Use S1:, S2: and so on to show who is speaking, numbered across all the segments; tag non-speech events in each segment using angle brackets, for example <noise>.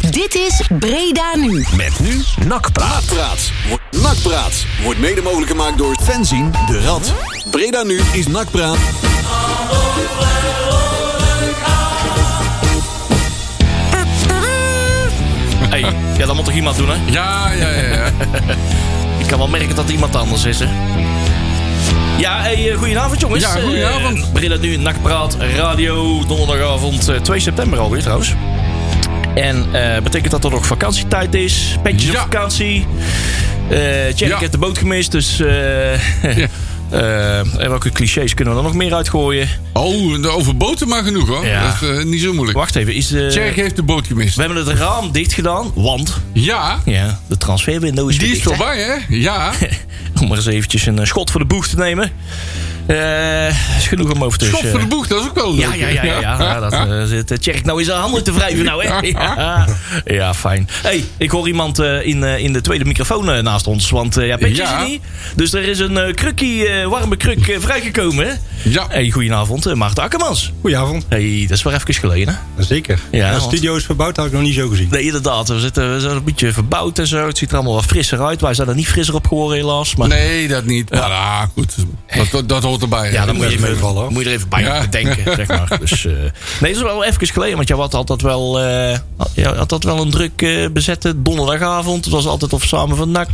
S1: Dit is Breda Nu.
S2: Met nu Nakpraat.
S3: Nakpraat. Wo- Nakpraat wordt mede mogelijk gemaakt door Fenzien de Rad. Breda nu is Nakpraat.
S4: Hey, ja, dat moet toch iemand doen, hè?
S5: Ja, ja, ja. ja.
S4: <laughs> Ik kan wel merken dat het iemand anders is, hè? Ja, hey, eh, goedenavond, jongens.
S5: Ja, goedenavond.
S4: Eh, Breda nu, Nakpraat, radio, donderdagavond, eh, 2 september alweer, trouwens. En eh, betekent dat er nog vakantietijd is? Petjes
S5: Ja.
S4: op vakantie. Eh Jerry
S5: Ja.
S4: heeft de boot gemist, dus... eh, <laughs>
S5: Ja.
S4: eh, en welke clichés kunnen we er nog meer uitgooien?
S5: Oh, de overboten maar genoeg hoor.
S4: Ja.
S5: Dat is eh, niet zo moeilijk.
S4: Wacht even, is... eh,
S5: Tjerk heeft de boot gemist.
S4: we hebben het raam dicht gedaan, want...
S5: Ja,
S4: Ja, de transferwindow is
S5: die
S4: weer
S5: is
S4: dicht, hè?
S5: voorbij hè?
S4: <laughs>
S5: Ja.
S4: Dus, om maar eens eventjes een eh, schot voor de boeg te nemen. Eh, is genoeg om over te...
S5: Schop voor de boeg, dat is ook wel leuk.
S4: eh, ja, ja, ja, ja, ja. ja, dat eh, zit eh, Tjerk nou in zijn handen te wrijven nou, hè? Ja, ja fijn. hey, ik hoor iemand eh, in, eh, in de tweede microfoon eh, naast ons, want eh ja, Petje is
S5: Ja.
S4: er niet. Dus er is een eh krukkie, eh, warme kruk eh, vrijgekomen, hè?
S5: Ja.
S4: hey, goedenavond, eh, Maarten Akkermans.
S6: Goedenavond.
S4: hey, dat is wel even geleden, hè?
S6: Zeker.
S4: Ja,
S6: Ja, de
S4: want-
S6: studio is verbouwd, had ik nog niet zo gezien.
S4: Nee, inderdaad. We, zitten, we zijn een beetje verbouwd en zo. Het ziet er allemaal wat frisser uit. Wij zijn er niet frisser op geworden, helaas. Maar
S5: <laughs> Nee, dat niet. Maar ah, goed. Dat, dat, dat hoort erbij.
S4: Ja, dan moet je,
S6: dat
S4: even,
S6: meevallen, hoor.
S4: moet je er even bij
S5: Ja.
S4: bedenken, zeg
S5: <laughs>
S4: maar. Dus, eh, nee, dat is wel even geleden, want je had altijd wel, eh, je had altijd wel een druk eh, bezette donderdagavond. Het was altijd of samen van NAC,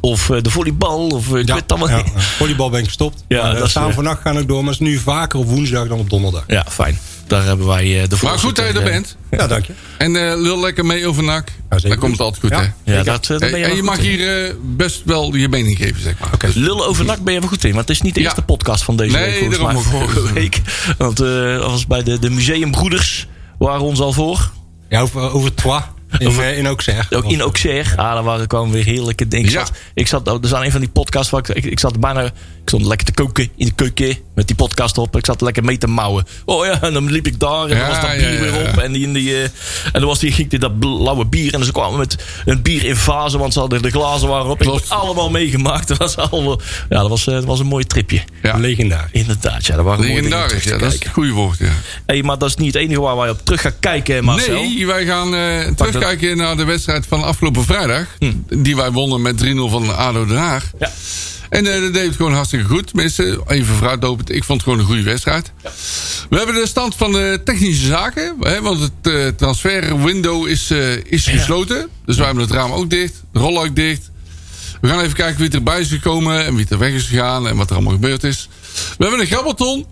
S4: of eh, de volleybal, of eh, ik weet het allemaal
S6: ja,
S4: niet.
S6: ja. Volleybal ben ik gestopt.
S4: Ja,
S6: Maar, eh,
S4: dat is,
S6: samen
S4: eh,
S6: vannacht gaan ook door, maar het is nu vaker op woensdag dan op donderdag.
S4: Ja, fijn. Daar hebben wij eh, de
S5: Maar goed dat je
S4: voorzitter,
S5: er
S4: eh,
S5: bent.
S6: Ja, dank je.
S5: En eh, lul lekker mee over nak.
S6: Ja, zeker.
S5: dat komt het altijd goed,
S6: Ja.
S5: hè?
S4: Ja, dat, eh, daar ben
S5: En,
S4: je,
S5: en je
S4: wel
S5: mag
S4: goed in.
S5: hier eh, best wel je mening geven, zeg maar. Dus-
S4: Lullen over NAC ben je wel goed in, want het is niet de
S5: Ja.
S4: eerste podcast van deze
S5: Nee,
S4: week. volgens
S5: daarom
S4: mij,
S5: ook.
S4: vorige <laughs> week. Want eh, dat was bij de, de museumbroeders waren ons al voor.
S6: Ja, over, over Trois in, eh, in Auxerre.
S4: Ook in Auxerre. Ah, daar waren gewoon weer heerlijke dingen. Ik
S5: Ja.
S4: zat, ik zat, er zijn een van die podcasts waar ik, ik, ik zat bijna... Ik stond lekker te koken in de keuken met die podcast op. Ik zat lekker mee te mouwen. Oh ja, en dan liep ik daar en dan
S5: Ja,
S4: was dat
S5: ja,
S4: bier
S5: ja,
S4: weer
S5: ja.
S4: op. En, die in die, eh, en dan was die, ging die dat blauwe bier. En ze kwamen met een bier in fase, want ze hadden, de glazen waren op. Ik
S5: Klopt.
S4: heb het allemaal meegemaakt. <laughs> Dat was, allemaal, ja, dat was, eh, dat was een mooi tripje.
S5: Ja.
S6: Legendarisch.
S4: Inderdaad, ja, dat waren mooie dingen om
S5: Legendarisch,
S4: terug te
S5: ja, dat is
S4: kijken.
S5: het goede woord, ja.
S4: Hey, maar dat is niet het enige waar wij op terug gaan kijken, Marcel.
S5: Nee, wij gaan eh, terugkijken naar de wedstrijd van afgelopen vrijdag. Die wij wonnen met 3-0 van ADO Den Haag.
S4: Hm. Ja.
S5: En eh, dat deed het gewoon hartstikke goed. Tenminste, even vooruitlopend. Ik vond het gewoon een goede wedstrijd. We hebben de stand van de technische zaken. Hè, want het eh, transferwindow is, eh, is gesloten. Dus wij hebben het raam ook dicht. De rol ook dicht. We gaan even kijken wie erbij is gekomen. En wie er weg is gegaan. En wat er allemaal gebeurd is. We hebben een grabbelton.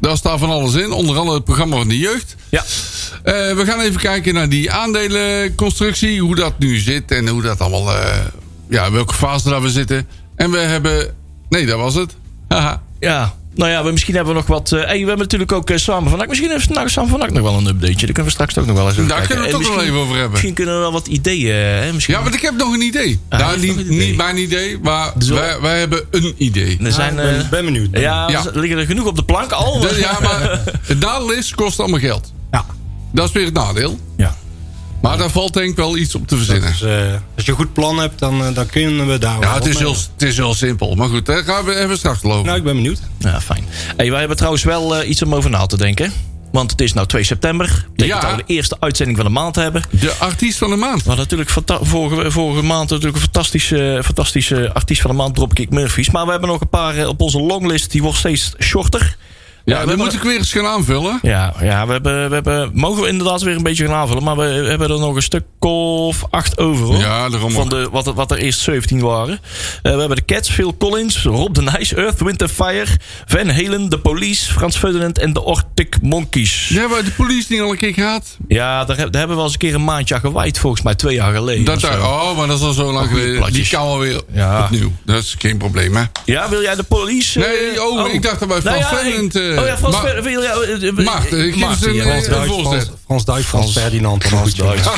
S5: Daar staat van alles in. Onder andere het programma van de jeugd.
S4: Ja.
S5: Eh, we gaan even kijken naar die aandelenconstructie. Hoe dat nu zit en hoe dat allemaal... eh, ja, in welke fase daar we zitten. En we hebben... Nee, dat was het. Haha.
S4: Ja, nou ja, we, misschien hebben we nog wat. eh, hey, we hebben natuurlijk ook eh, samen van Ak. Misschien heeft nou, samen van Ak nog wel een updateje. Daar kunnen we straks ook nog wel eens over
S5: Daar
S4: kijken.
S5: kunnen
S4: En
S5: we het ook nog
S4: misschien-
S5: wel even over hebben.
S4: Misschien kunnen we wel wat ideeën. eh, Hè? Misschien,
S5: Ja, want ik heb nog een idee.
S4: Ah,
S5: nou,
S4: je hebt
S5: niet,
S4: nog een idee.
S5: niet mijn idee, maar
S4: Zo.
S5: wij, wij hebben een idee.
S4: er zijn.
S6: Ik ben,
S4: eh,
S6: ben benieuwd.
S4: ja,
S5: Ja.
S4: er liggen er genoeg op de plank al.
S5: Dus ja, maar het nadeel is, kost allemaal geld.
S6: Ja.
S5: Dat is weer het nadeel.
S6: ja.
S5: Maar daar valt denk ik wel iets op te verzinnen.
S6: Dus, eh, als je een goed plan hebt, dan, eh, dan kunnen we daar wel
S5: Ja, het is,
S6: wat mee.
S5: heel, het is heel simpel. Maar goed, daar gaan we even straks lopen.
S6: Nou, ik ben benieuwd.
S4: Ja, fijn. Hey, wij hebben trouwens wel eh, iets om over na te denken. Want het is nou 2 september. Betekent
S5: Ja.
S4: dat we de eerste uitzending van de maand hebben.
S5: De artiest van de maand.
S4: We hadden natuurlijk fanta- vorige, vorige maand natuurlijk een fantastische, fantastische artiest van de maand, Dropkick Murphys. Maar we hebben nog een paar eh, op onze longlist. Die wordt steeds shorter.
S5: Ja,
S4: we
S5: dat
S4: hebben-
S5: moet ik weer eens gaan aanvullen.
S4: Ja, ja we, hebben, we hebben, mogen we inderdaad weer een beetje gaan aanvullen. Maar we hebben er nog een stuk of acht over. Hoor.
S5: Ja, daarom
S4: Van
S5: ook.
S4: de, wat, er- wat er eerst 17 waren. Eh, we hebben de Cats, Phil Collins, Rob de Nijs, Earth, Wind and Fire, Van Halen, The Police, Frans Ferdinand en de Arctic Monkeys.
S5: Die hebben we de police niet al een keer gehad.
S4: Ja, daar, heb- daar hebben we wel eens een keer een maandje aan gewaaid, volgens mij twee jaar geleden.
S5: Dat
S4: of zo.
S5: daar, oh, maar dat is al zo lang
S4: goeie
S5: geleden. Die
S4: plaatjes.
S5: kan wel weer
S4: Ja.
S5: opnieuw. Dat is geen probleem, hè?
S4: Ja, wil jij de Police? eh,
S5: Nee, oh, ik dacht dat bij Frans
S4: ik-
S5: Ferdinand, eh,
S4: oh ja, Frans
S5: maar-
S4: Ferdinand. wil jij, eh, eh,
S5: Maarten, geef eens
S4: Maarten,
S5: een,
S4: ja.
S5: eh,
S6: Frans Duits,
S5: voorzet. <laughs>
S6: Frans, Frans Duits, Frans Ferdinand. Frans,
S4: Duits.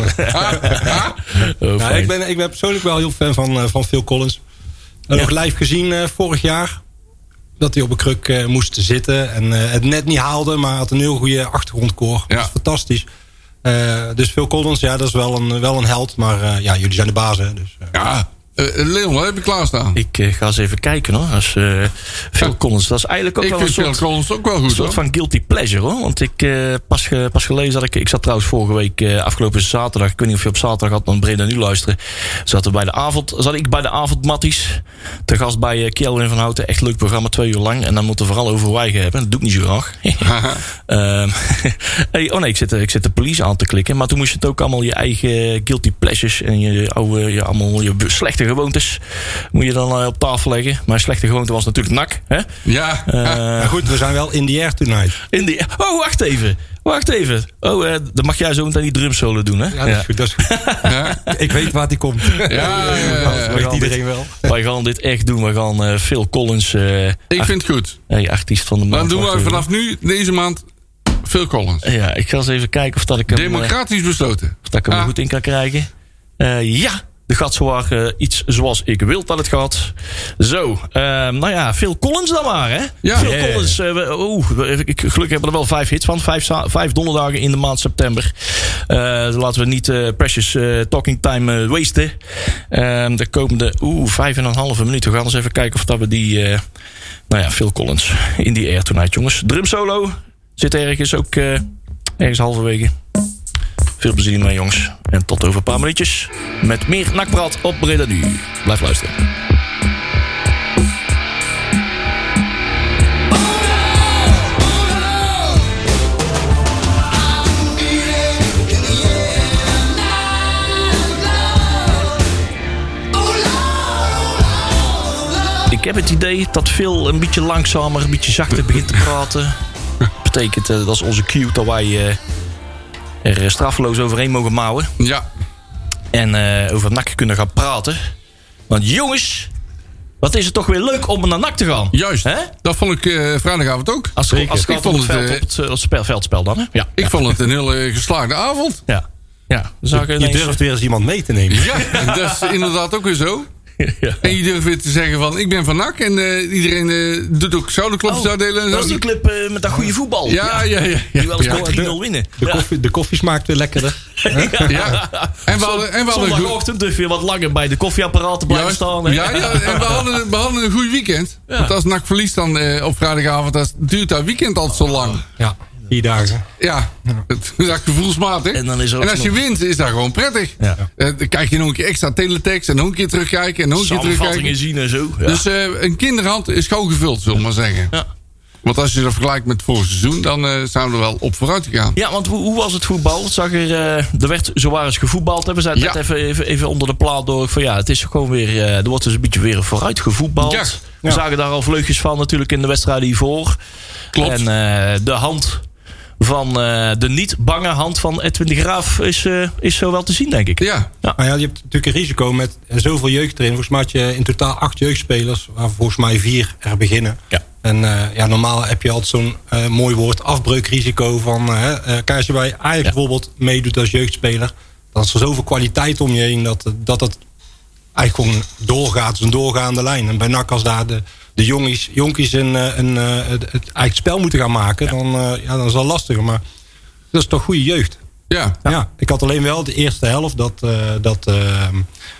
S4: Oh,
S6: Ja,
S4: fijn.
S6: ik, ben, ik ben persoonlijk wel heel fan van, eh, van Phil Collins. En
S4: Ja.
S6: Nog live gezien eh, vorig jaar. Dat hij op een kruk eh, moest zitten. En eh, het net niet haalde, maar had een heel goede achtergrondkoor.
S5: Ja.
S6: Dat is fantastisch. Eh, dus Phil Collins, ja, dat is wel een, wel een held. Maar eh, ja, jullie zijn de bazen. Dus, eh,
S5: Ja, Eh, Leon, wat heb je klaarstaan?
S4: Ik eh, ga eens even kijken hoor. Als, eh Phil
S5: Ja.
S4: Collins, dat is eigenlijk ook
S5: Ik
S4: wel een
S5: vind
S4: soort...
S5: Phil Collins ook wel goed,
S4: Een
S5: hoor. <laughs>
S4: soort van guilty pleasure hoor. Want ik eh, pas, ge- pas gelezen had ik. Ik zat trouwens vorige week, eh, afgelopen zaterdag. Ik weet niet of je op zaterdag had, dan Breda nu luisteren. Zat, er bij de avond, zat ik bij de avondmatties. Te gast bij eh Kelvin van Houten. Echt leuk programma, twee uur lang. En dan moeten we vooral over wijgen hebben. Dat doe ik niet zo graag. <laughs> Ehm, <laughs> hey, oh nee, ik zit, ik zit de police aan te klikken. Maar toen moest je het ook allemaal je eigen eh, guilty pleasures en je oude, je, allemaal je slechte gewoontes. Moet je dan eh, op tafel leggen. Mijn slechte gewoonte was natuurlijk nak. Hè?
S5: Ja.
S6: Maar goed, we zijn wel in the air tonight.
S4: In die, oh, wacht even. Wacht even. Oh, eh, dan mag jij zo meteen die drumsolo doen, hè?
S6: Ja, dat is goed. Dat is goed.
S5: <laughs> ja.
S6: <laughs> Ik weet waar die komt.
S5: ja, ja, ja.
S6: Dat weet iedereen wel.
S4: Wij gaan dit echt doen. We gaan eh, Phil Collins, eh
S5: Ik vind het goed.
S4: hey, artiest van de maand.
S5: Dan doen we
S4: worden.
S5: vanaf nu, deze maand, Phil Collins.
S4: Ja, ik ga eens even kijken of dat ik hem, eh,
S5: Democratisch besloten.
S4: of dat ik hem er
S5: Ah.
S4: goed in kan krijgen. Eh, ja, de gaat zowaar eh, iets zoals ik wil dat het gaat. Zo, eh, nou ja, Phil Collins dan maar, hè?
S5: Ja.
S4: Phil
S5: Ja.
S4: Collins, eh, we- oeh, we- ik, gelukkig hebben we er wel vijf hits van. Vijf, za- vijf donderdagen in de maand september. Eh, laten we niet eh, precious eh, talking time eh, wasten. Ehm de komende, oeh, vijf en een halve minuut. We gaan eens even kijken of dat we die, eh, nou ja, Phil Collins in die air tonight, jongens. Drum solo zit ergens ook eh, ergens halverwege. Veel plezier mee, jongens. En tot over een paar minuutjes met meer nakpraat op Breda Nu. Blijf luisteren. Ik heb het idee dat Phil een beetje langzamer, een beetje zachter begint te
S5: <laughs>
S4: praten. Betekent eh, dat is onze cue dat wij eh, er straffeloos overheen mogen mouwen.
S5: Ja.
S4: En eh, over NAC kunnen gaan praten. Want jongens, wat is het toch weer leuk om naar NAC te gaan.
S5: Juist.
S4: Hè?
S5: Dat vond ik eh, vrijdagavond ook.
S4: Als het, als het
S5: Ik
S4: gaat om
S5: vond
S4: het
S5: het,
S4: veld,
S5: eh,
S4: op het, eh, op het spel- veldspel dan. Hè? Ja.
S5: ik vond het een heel eh, geslaagde avond.
S4: Ja. Ja. Dan zag ik
S6: Je
S4: ineens-
S5: <laughs>
S6: durft weer eens iemand mee te nemen.
S5: Ja, dat is inderdaad ook weer zo.
S4: Ja.
S5: En je durft weer te zeggen van, ik ben van NAC. En eh, iedereen eh, doet ook schouderklopjes uitdelen. en
S4: Oh, Dat is die
S5: zo.
S4: club eh, met dat goede voetbal.
S5: Ja, ja, ja. ja,
S4: Die wel eens
S5: ja.
S4: kon 3-0 winnen.
S6: De koffie, de koffie smaakt weer lekkerder.
S4: <laughs>
S5: Ja. En we hadden, en we hadden een goed...
S4: Zondagochtend dus weer wat langer bij de koffieapparaten blijven
S5: Juist.
S4: staan. hè. <laughs>
S5: Ja, ja, en we hadden, we hadden een goed weekend. Want als NAC verliest dan eh, op vrijdagavond, dan duurt dat weekend altijd
S4: Oh.
S5: zo lang.
S6: Ja, vier dagen.
S5: Ja, het <laughs> is echt gevoelsmatig.
S4: En dan is er ook
S5: als je
S4: nog-
S5: wint, is dat gewoon prettig.
S4: Ja.
S5: Eh, dan kijk je nog een keer extra teletext en nog een keer terugkijken en nog een keer terugkijken.
S4: Samenvattingen zien en zo. Ja.
S5: Dus eh, een kinderhand is gauw gevuld, zullen we maar zeggen.
S4: Ja.
S5: Want als je dat vergelijkt met vorig seizoen, dan eh, zijn we er wel op vooruit gegaan.
S4: Ja, want hoe, hoe was het voetbal? Het Zag er, eh, er werd zowaar eens gevoetbald. Hè? We zijn net
S5: Ja.
S4: even, even, even onder de plaat door. Van, ja, het is gewoon weer, eh, er wordt dus een beetje weer vooruit gevoetbald.
S5: Ja.
S4: We zagen daar al vleugjes van natuurlijk in de wedstrijd hiervoor.
S5: Klopt.
S4: En eh, de hand van eh, de niet bange hand van Edwin de Graaf is, eh, is zo wel te zien, denk ik.
S5: Ja,
S6: Maar Nou ja, je hebt natuurlijk een risico met eh, zoveel jeugd erin. Volgens mij had je in totaal acht jeugdspelers, waar volgens mij vier er beginnen.
S4: Ja.
S6: En eh, ja, normaal heb je altijd zo'n eh, mooi woord, afbreukrisico. Van, eh, eh, kijk, als je bij Ajax bijvoorbeeld meedoet als jeugdspeler... dan is er zoveel kwaliteit om je heen dat eh, dat, dat eigenlijk gewoon doorgaat. Het is een doorgaande lijn. En bij NAC als daar de, de jongies, jonkies een, eh, een, eh, het, het, eigenlijk het spel moeten gaan maken... Dan, eh, ja, dan is dat lastiger. Maar dat is toch goede jeugd.
S5: ja.
S6: Ja. ik had alleen wel de eerste helft dat, eh, dat eh,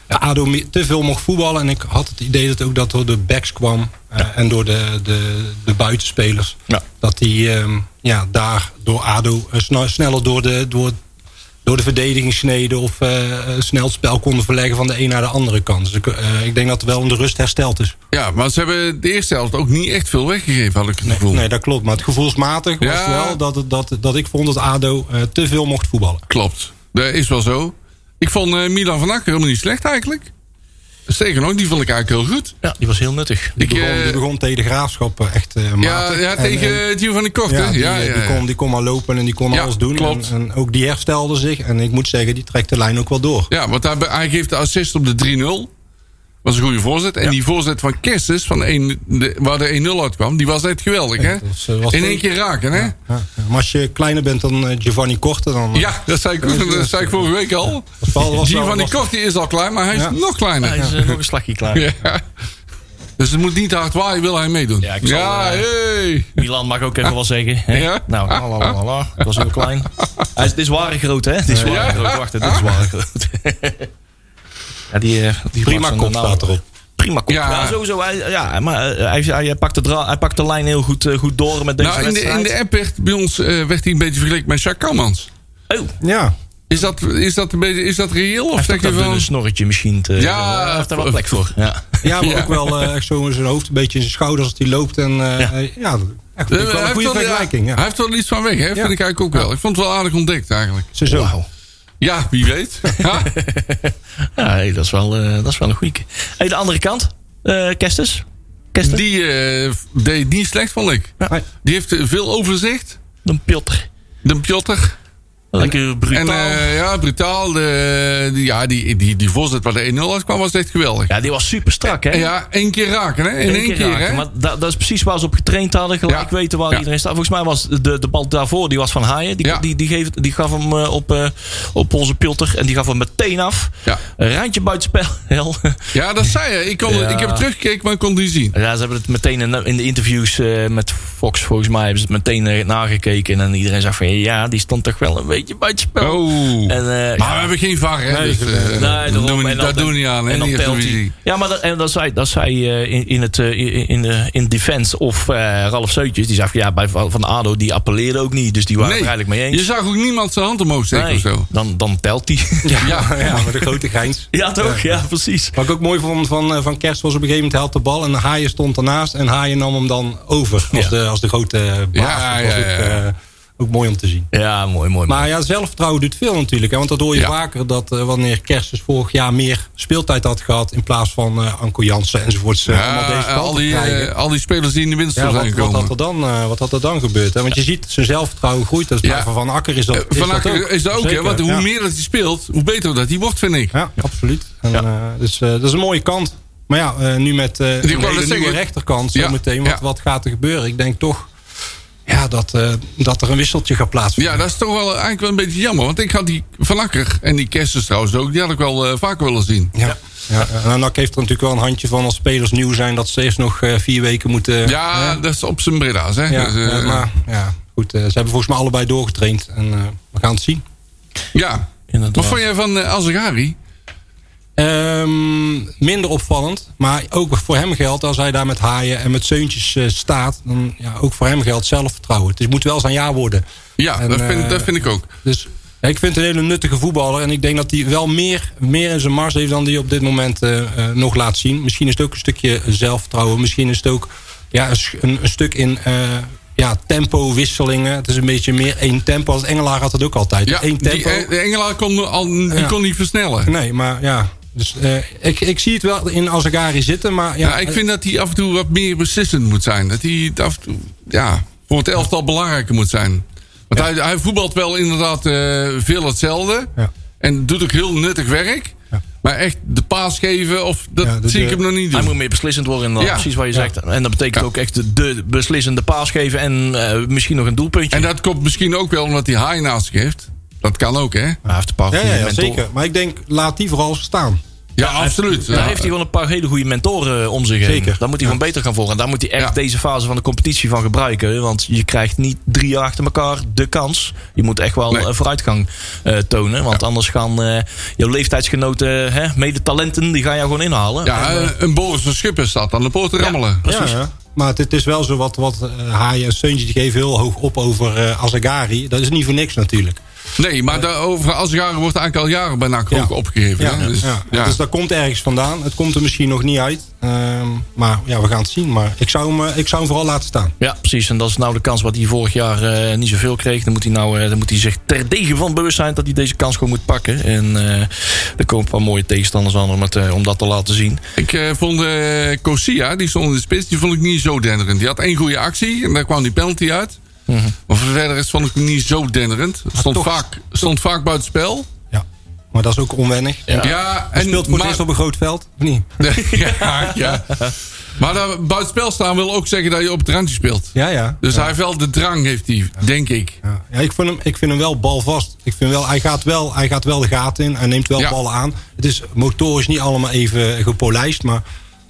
S6: ADO me- te veel mocht voetballen. En ik had het idee dat ook dat door de backs kwam eh, en door de, de, de buitenspelers.
S4: Ja.
S6: Dat die ehm, ja, daar door ADO eh, sne- sneller door de, door, door de verdediging sneden... of eh, eh, snel het spel konden verleggen van de een naar de andere kant. Dus ik, eh, ik denk dat het wel in de rust hersteld is.
S5: ja, maar ze hebben de eerste helft ook niet echt veel weggegeven, had ik het gevoel.
S6: Nee, dat klopt. Maar het gevoelsmatig was
S5: Ja.
S6: wel dat, het- dat, dat ik vond dat ADO eh, te veel mocht voetballen.
S5: Klopt, dat is wel zo. Ik vond eh, Milan van Akker helemaal niet slecht eigenlijk. Stegen ook, die vond ik eigenlijk heel goed.
S4: Ja, die was heel nuttig.
S5: Ik,
S6: Die begon,
S5: eh,
S6: die begon tegen de graafschap eh, echt eh,
S5: ja,
S6: matig.
S5: ja,
S6: En- en-
S5: tegen Gio van de Kort, hè?
S6: Ja, die,
S5: ja,
S6: eh,
S5: ja,
S6: die,
S5: ja.
S6: kon, die kon maar lopen en die kon
S5: Ja,
S6: alles doen.
S5: klopt.
S6: En, en ook die herstelde zich. En ik moet zeggen, die trekt de lijn ook wel door.
S5: Ja, want hij, hij geeft de assist op de 3-0. Was een goede voorzet. En die voorzet van Kerstens, van een, de, waar de 1-0 uitkwam, die was echt geweldig, hè?
S6: dat was, eh, was
S5: In één
S6: goed.
S5: keer raken, hè? Ja,
S6: Ja, ja. Maar als je kleiner bent dan eh, Giovanni Korte, dan... eh,
S5: dat, zei ik, ook- dat zei ik vorige week al.
S6: was wel- was
S5: Die
S6: wel-
S5: van de
S6: was-
S5: Kort die is al klein, maar hij is
S6: Ja.
S5: nog
S4: Hij
S5: kleiner. Ja.
S4: is eh, nog een slagje klaar.
S5: <laughs> Dus het moet niet te hard waaien, wil hij meedoen.
S4: Ja, ik zal,
S5: Ja,
S4: eh,
S5: hey.
S4: Milan mag ook even wat zeggen. Hè?
S5: Ja.
S4: Nou, la, la, la, la, la. Het was heel klein. Hij is, dit is ware groot, <laughs> hè? Dit is ware
S5: Ja.
S4: groot. Wacht, dit is ware groot. Ja, die, eh, die maakt
S6: Prima
S4: zo'n
S6: kop
S4: naam.
S6: staat erop.
S4: Prima kop.
S5: Ja.
S4: Ja, sowieso. Hij, ja, maar eh, hij, hij, pakt de dra- hij pakt de lijn heel goed, eh, goed door met deze
S5: Nou, in de,
S4: wedstrijd.
S5: in de app werd bij ons eh, werd hij een beetje vergeleken met Jacques Kamans.
S4: oh,
S6: Ja,
S5: Is dat, is dat, een beetje, is dat reëel? Of
S4: hij
S5: zeg
S4: heeft
S5: je
S4: ook
S5: wel...
S4: een snorretje misschien. Te,
S5: Ja.
S4: hij heeft daar wel plek voor. Ja.
S6: ja maar
S5: Ja.
S6: ook wel eh, echt zo zijn hoofd een beetje in zijn schouders als hij loopt. En eh,
S4: Ja.
S6: eh, ja, echt
S5: Eh,
S6: wel
S5: hij
S6: een
S5: heeft wel-
S6: goede vergelijking.
S5: ja, Hij
S6: Ja.
S5: heeft wel iets van weg, hè? vind ik eigenlijk ook wel. Ik vond het wel aardig ontdekt eigenlijk.
S6: Zo, zo.
S5: Ja, wie weet. <laughs> Ja.
S4: Ja, <laughs> hey, dat, is wel, eh, dat is wel een goeie. Hey, de andere kant. eh Kestes. Kestes.
S5: Die eh, deed niet slecht, vond ik.
S6: Hij-
S5: Die heeft eh, veel overzicht.
S4: Een Piotr.
S5: De Pjotter.
S4: Lekker brutaal.
S5: En eh, ja, brutaal. De, die, ja, die, die, die voorzet waar de 1-0 uitkwam was echt geweldig.
S4: ja, die was super strak, hè?
S5: En ja, één keer raken, hè? In één, keer,
S4: raken.
S5: hè?
S4: Maar da- dat is precies waar ze op getraind hadden. Gelijk
S5: Ja.
S4: weten waar
S5: Ja.
S4: iedereen staat. Volgens mij was de, de bal daarvoor, die was van Haaien. Die,
S5: Ja.
S4: die, die, geef- die gaf hem eh, op, eh, op onze pilter. En die gaf hem meteen af.
S5: Ja.
S4: Een randje buitenspel. <laughs> Hel.
S5: Ja, dat zei je. Ik, kon,
S4: Ja.
S5: ik heb teruggekeken, maar ik kon die zien.
S4: ja, ze hebben het meteen in, in de interviews eh, met Fox, volgens mij, hebben ze het meteen eh, nagekeken. En iedereen zag van, ja, die stond toch wel een beetje buitenspel.
S5: Oh.
S4: En, eh,
S5: Maar we hebben geen VAR, hè? dus, eh, dat
S4: daarom.
S5: doen we
S4: En
S5: niet,
S4: dan-
S5: daar doen we niet aan, hè?
S4: en dan
S5: die
S4: penalty.
S5: Eredivisie.
S4: Ja, maar dat, en dat zei, dat zei eh, in, in, het, eh, in, in, eh, in Defense of eh, Ralf Seutjes. Die zei van, ja, bij Van van Ado, die appelleerde ook niet. Dus die waren
S5: Nee,
S4: er eigenlijk mee
S5: je
S4: eens.
S5: zag ook niemand zijn hand omhoog steken
S4: Nee,
S5: of zo.
S4: dan, dan telt die.
S6: Ja, ja. maar de grote grijns.
S4: <laughs> ja, toch? Ja, precies.
S6: Wat ik ook mooi vond van, eh, van Kerst was op een gegeven moment hij had de bal en Haaien stond ernaast en Haaien nam hem dan over als,
S4: Ja.
S6: de, als de grote eh, baas.
S5: Ja,
S6: Dat was
S5: ja,
S6: Ook,
S5: ja.
S6: eh, ook mooi om te zien.
S4: Ja, mooi, mooi. mooi.
S6: Maar ja, zelfvertrouwen doet veel natuurlijk. Hè, want dat hoor je
S5: Ja.
S6: vaker dat eh, wanneer Kerst dus vorig jaar meer speeltijd had gehad in plaats van eh Anko Jansen enzovoorts. eh,
S5: Ja,
S6: allemaal deze kant
S5: al,
S6: op
S5: die,
S6: krijgen.
S5: eh, al die spelers die in de winst
S6: ja,
S5: zijn
S6: wat, wat,
S5: gekomen.
S6: had er dan, eh, wat had er dan gebeurd? Hè? Want je ziet, zijn zelfvertrouwen groeit. Dat is
S5: Ja.
S6: bij Van Van Akker is dat,
S5: Eh,
S6: is
S5: Van
S6: dat ook.
S5: Akker is dat ook, hè?
S6: Zeker,
S5: Want hoe
S6: ja.
S5: meer dat hij speelt, hoe beter dat hij wordt, vind ik.
S6: Ja, absoluut. En, eh, dus eh, dat is een mooie kant. Maar ja, eh, nu met eh een
S5: wou net
S6: hele nieuwe
S5: zeggen.
S6: rechterkant zo
S5: Ja,
S6: meteen. Wat,
S5: ja.
S6: wat gaat er gebeuren? Ik denk toch ja, dat, eh, dat er een wisseltje gaat plaatsvinden.
S5: Ja, dat is toch wel eigenlijk wel een beetje jammer. Want ik had die Van Akker en die Kerstens trouwens ook, die had ik wel eh, vaker willen zien.
S6: Ja. Ja. En NAC heeft er natuurlijk wel een handje van als spelers nieuw zijn... dat ze eerst nog eh, vier weken moeten...
S5: Ja, dat is op zijn Breda's, hè?
S6: ja,
S5: Dus, eh,
S6: eh, maar ja, goed. eh, ze hebben volgens mij allebei doorgetraind. En eh, we gaan het zien.
S5: ja.
S4: Inderdaad.
S5: Wat vond jij van eh, Azegari?
S6: Ehm, minder opvallend. Maar ook voor hem geldt, als hij daar met haaien en met zeuntjes eh, staat... dan ja, ook voor hem geldt zelfvertrouwen. Dus het moet wel zijn ja worden.
S5: Ja,
S6: En,
S5: dat, vind,
S6: eh,
S5: dat vind ik ook.
S6: Dus ja, ik vind het een hele nuttige voetballer. En ik denk dat hij wel meer, meer in zijn mars heeft dan hij op dit moment eh, eh, nog laat zien. Misschien is het ook een stukje zelfvertrouwen. Misschien is het ook ja, een, sch- een, een stuk in eh, ja, tempo-wisselingen. Het is een beetje meer één tempo. Als Engelaar had het ook altijd.
S5: Ja,
S6: Eén
S5: die,
S6: tempo.
S5: eh, de Engelaar kon, al, die
S6: Ja.
S5: kon niet versnellen.
S6: nee, maar ja. Dus, eh, ik, ik zie het wel in Azagari zitten. Maar ja,
S5: Ja, ik vind dat hij af en toe wat meer beslissend moet zijn. Dat hij het af en toe, ja, voor het elftal belangrijker moet zijn. Want hij, hij voetbalt wel inderdaad eh, veel hetzelfde.
S6: Ja.
S5: En doet ook heel nuttig werk.
S6: Ja.
S5: Maar echt de paas geven, of, dat
S6: Ja, dat,
S5: zie ik
S6: eh,
S5: hem nog niet
S4: Hij
S5: doen.
S4: moet meer beslissend worden, inderdaad.
S5: Ja.
S4: precies wat je
S6: Ja.
S4: zegt. En dat betekent
S5: Ja.
S4: ook echt de, de beslissende paas geven en eh, misschien nog een doelpuntje.
S5: En dat komt misschien ook wel omdat hij haai naast zich heeft. Dat kan ook, hè? Ja,
S4: hij heeft een paar
S6: eh, ja,
S4: goede
S6: ja, ja,
S4: mentoren.
S6: zeker. Maar ik denk, laat die vooral staan.
S5: absoluut.
S4: Daar heeft hij wel een paar hele goede mentoren eh, om zich heen.
S6: Zeker.
S4: Daar moet hij gewoon beter gaan volgen. En Daar moet hij echt
S5: Ja.
S4: deze fase van de competitie van gebruiken. Want je krijgt niet drie jaar achter elkaar de kans. Je moet echt wel
S5: Nee.
S4: eh, vooruitgang eh, tonen. Want anders gaan eh, jouw leeftijdsgenoten, hè, mede talenten, die gaan jou gewoon inhalen.
S5: ja, eh, een Boris van Schuppen staat aan de poort te rammelen.
S4: Precies.
S6: Ja, ja. Maar het, het is wel zo wat, wat eh, haaien en Seuntje die geven heel hoog op over eh Azagari. Dat is niet voor niks natuurlijk.
S5: Nee, maar daarover, als jaren wordt eigenlijk al jaren bij NAC
S6: Ja.
S5: ook opgegeven.
S6: Ja,
S5: hè? Dus,
S6: ja.
S5: ja.
S6: dus dat komt ergens vandaan. Het komt er misschien nog niet uit. Ehm, maar ja, we gaan het zien. Maar ik zou hem, eh, ik zou hem vooral laten staan.
S4: Ja, precies. En dat is nou de kans wat hij vorig jaar eh, niet zoveel kreeg. Dan moet hij, nou, eh, dan moet hij zich terdege van bewust zijn dat hij deze kans gewoon moet pakken. En eh er komen een paar mooie tegenstanders aan om, het, eh, om dat te laten zien.
S5: Ik eh, vond eh Cosia, die stond in de spits, die vond ik niet zo denderend. Die had één goede actie en daar kwam die penalty uit. Maar voor verder is vond ik hem niet zo denderend. Stond,
S6: Mhm. toch-
S5: vaak, stond vaak buiten spel.
S6: Ja. Maar dat is ook onwennig.
S5: Ja, en
S6: Hij speelt voor het
S5: maar-
S6: eerst op een groot veld. Of niet?
S5: <laughs> ja, ja. Maar daar buiten spel staan wil ook zeggen dat je op het randje speelt.
S6: Ja, ja.
S5: Dus hij heeft wel de drang, heeft hij, denk ik.
S6: Ja, ja ik, vind hem, ik vind hem wel balvast. Ik vind wel, hij, gaat wel, hij gaat wel de gaten in. Hij neemt wel
S5: Ja.
S6: ballen aan. Het is motorisch niet allemaal even gepolijst. Maar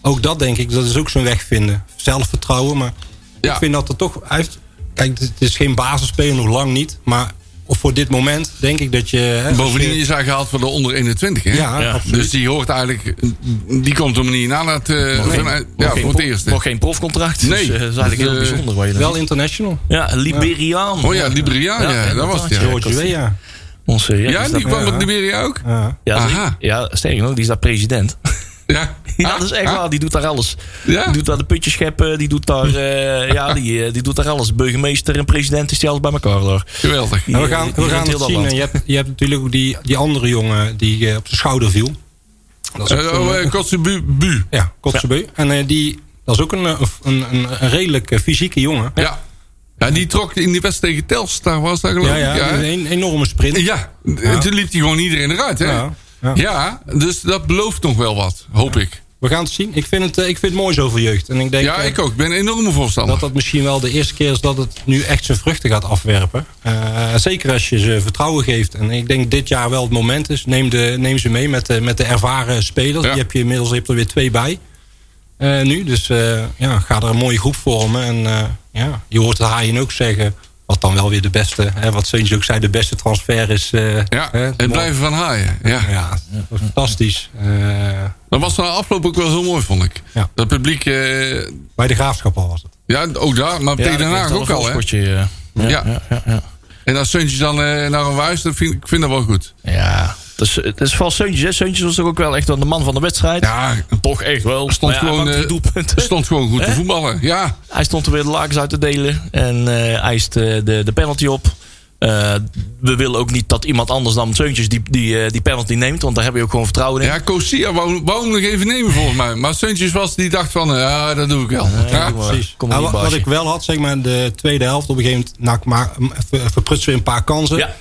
S6: ook dat denk ik, dat is ook zo'n weg vinden. Zelfvertrouwen. Maar
S5: Ja.
S6: ik vind dat er toch... Hij heeft, kijk, het is geen basisspeler, nog lang niet. Maar of voor dit moment denk ik dat je... hè,
S5: Bovendien is hij gehaald voor de onder 21. Hè?
S6: Ja,
S4: Ja.
S6: absoluut.
S5: Dus die hoort eigenlijk, die komt hem niet na dat, eh, vanuit- ja, voor het eerst. hè.
S4: Nog geen profcontract.
S5: Nee.
S4: Dus, eh, dat is eigenlijk heel
S5: Dus, eh,
S4: bijzonder. Waar je dan
S6: Wel international.
S4: Ja, Liberiaan.
S5: Oh ja, Liberiaan, ja, dat was het, ja.
S6: George Weah.
S4: Onze, ja,
S5: Ja,
S4: is
S5: die
S4: daar-
S5: kwam op Liberia ook.
S6: dus Ja.
S4: ja, die-
S5: Aha.
S4: ja, sterker nog, die is daar president. <laughs>
S5: Ja,
S4: Ja, dat is echt waar. Die doet daar alles.
S5: ah. Ja?
S4: Die doet daar de putjes scheppen. Die doet daar, eh, ja, die, eh, die doet daar alles. Burgemeester en president is die alles bij elkaar daar.
S5: Geweldig.
S4: Die,
S6: Nou, we
S4: eh,
S6: gaan,
S4: die- die
S6: we
S4: runt
S6: gaan
S4: heel
S6: het
S4: dat
S6: zien.
S4: land.
S6: En je, hebt, je hebt natuurlijk ook die, die andere jongen die eh, op zijn schouder viel. Dat is ook
S5: Eh,
S6: zo'n,
S5: oh,
S6: eh,
S5: eh, Kotzebu- Bu.
S6: ja, Kotzebue. En eh, die, dat is ook een, eh, een, een, een redelijk eh, fysieke jongen.
S5: Ja. Ja, die trok in die wedstrijd tegen Telstar, was dat geloof
S6: Ja,
S5: ik.
S6: ja,
S5: hè?
S6: een, een enorme sprint.
S5: Ja, en toen liep hij gewoon iedereen eruit. Hè? Ja.
S6: Ja, ja.
S5: dus dat belooft nog wel wat, hoop ik.
S6: We gaan het zien. Ik vind het, eh, ik vind het mooi zoveel jeugd. En ik denk
S5: Ja,
S6: eh,
S5: ik ook. Ik ben een enorme voorstander.
S6: dat dat misschien wel de eerste keer is dat het nu echt zijn vruchten gaat afwerpen. Eh, zeker als je ze vertrouwen geeft. En ik denk dit jaar wel het moment is. Neem, de, neem ze mee met de, met de ervaren spelers.
S5: Ja.
S6: Die heb je inmiddels je hebt er weer twee bij. eh, nu, dus eh, ja, ga er een mooie groep vormen. En eh, ja, je hoort de Haaien ook zeggen... wat dan wel weer de beste... Hè, wat Seuntje ook zei, de beste transfer is... eh,
S5: ja,
S6: hè,
S5: en blijven van haaien. Ja.
S6: Ja, fantastisch. Eh,
S5: Dat was na afloop ook wel heel mooi, vond ik.
S6: Ja.
S5: Dat publiek, eh,
S6: bij de Graafschap al was het.
S5: ja, ook daar, maar
S4: Ja,
S5: tegen
S4: dat
S5: Den
S4: heeft
S5: Haag
S4: wel
S5: ook
S4: een
S5: al. Hè?
S4: voorschotje, eh.
S5: Ja.
S4: ja, ja, ja.
S5: En als Suntje dan eh, naar een wuis, dat vind, ik- ik vind dat wel goed.
S4: Ja, het is, het is vooral Seuntjes. hè. Seuntjes was toch ook wel echt dan de man van de wedstrijd.
S5: Ja,
S4: Toch echt wel.
S5: stond,
S4: Maar ja,
S5: gewoon,
S4: hij maakte
S5: eh,
S4: drie doelpunten.
S5: stond gewoon goed te voetballen. Ja,
S4: Hij stond er weer de lakens uit te delen. En eh, hij eist eh, de, de penalty op. Eh, we willen ook niet dat iemand anders dan Seuntjes die, die, eh, die penalty neemt. Want daar heb je ook gewoon vertrouwen in.
S5: ja Kosia wou, wou hem nog even nemen volgens mij. Maar Suntjes was die dacht van, eh, ja, dat doe ik wel. Ja.
S4: precies. Kom
S6: Nou,
S4: op,
S6: wat, wat ik wel had, zeg maar, de tweede helft op een gegeven moment nou, ik ma- ver- verprutsen we een paar kansen.
S4: Ja.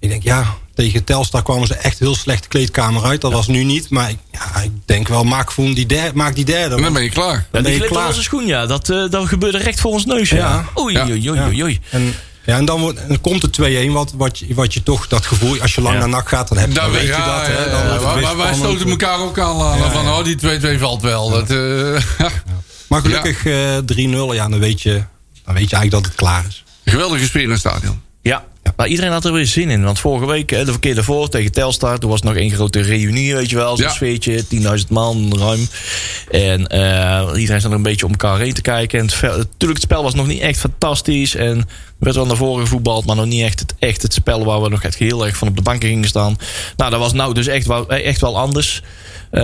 S6: Ik denk, ja, tegen Telstar kwamen ze echt heel slecht de kleedkamer uit. Dat was nu niet, maar ik, ja, ik denk wel, maak Voen die derde. Maak die derde
S5: En dan
S6: want-
S5: ben je klaar.
S4: Ja,
S6: ben
S4: die
S6: je
S4: glipte
S6: klaar.
S4: onze schoen, ja. Dat, eh, dat gebeurde recht voor ons neus. Ja.
S6: Ja.
S4: Oei,
S5: Ja.
S4: oei, oei,
S6: Ja.
S4: oei, oei.
S6: en, ja, en dan, wordt, en dan komt de 2-1, wat, wat, je- wat je toch dat gevoel, als je lang
S4: Ja.
S6: naar NAC gaat, dan, heb, je-
S5: Daar
S6: dan weet je dat.
S5: ja,
S6: hè,
S5: ja,
S6: dan
S5: ja,
S6: wordt het
S5: maar-
S6: weer
S5: maar wij
S6: spannend.
S5: stoten elkaar ook al aan. van, oh, die 2-2 valt wel. Dat, eh, <laughs>
S6: Maar gelukkig eh, 3-0, ja, dan weet, je, dan weet je eigenlijk dat het klaar is.
S5: Geweldige sfeer in het stadion.
S4: Ja. Maar iedereen had er weer zin in. Want vorige week, eh, de verkeer daarvoor, tegen Telstar... toen was nog één grote reunie, weet je wel. Zo'n
S5: Ja.
S4: sfeertje, 10.000 man, ruim. En eh, iedereen zat er een beetje om elkaar heen te kijken. En het, ve- natuurlijk, het spel was nog niet echt fantastisch. En er werd wel naar voren gevoetbald... maar nog niet echt het, echt het spel waar we nog echt heel erg van op de banken gingen staan. Nou, dat was nou dus echt wel, echt wel anders. Eh,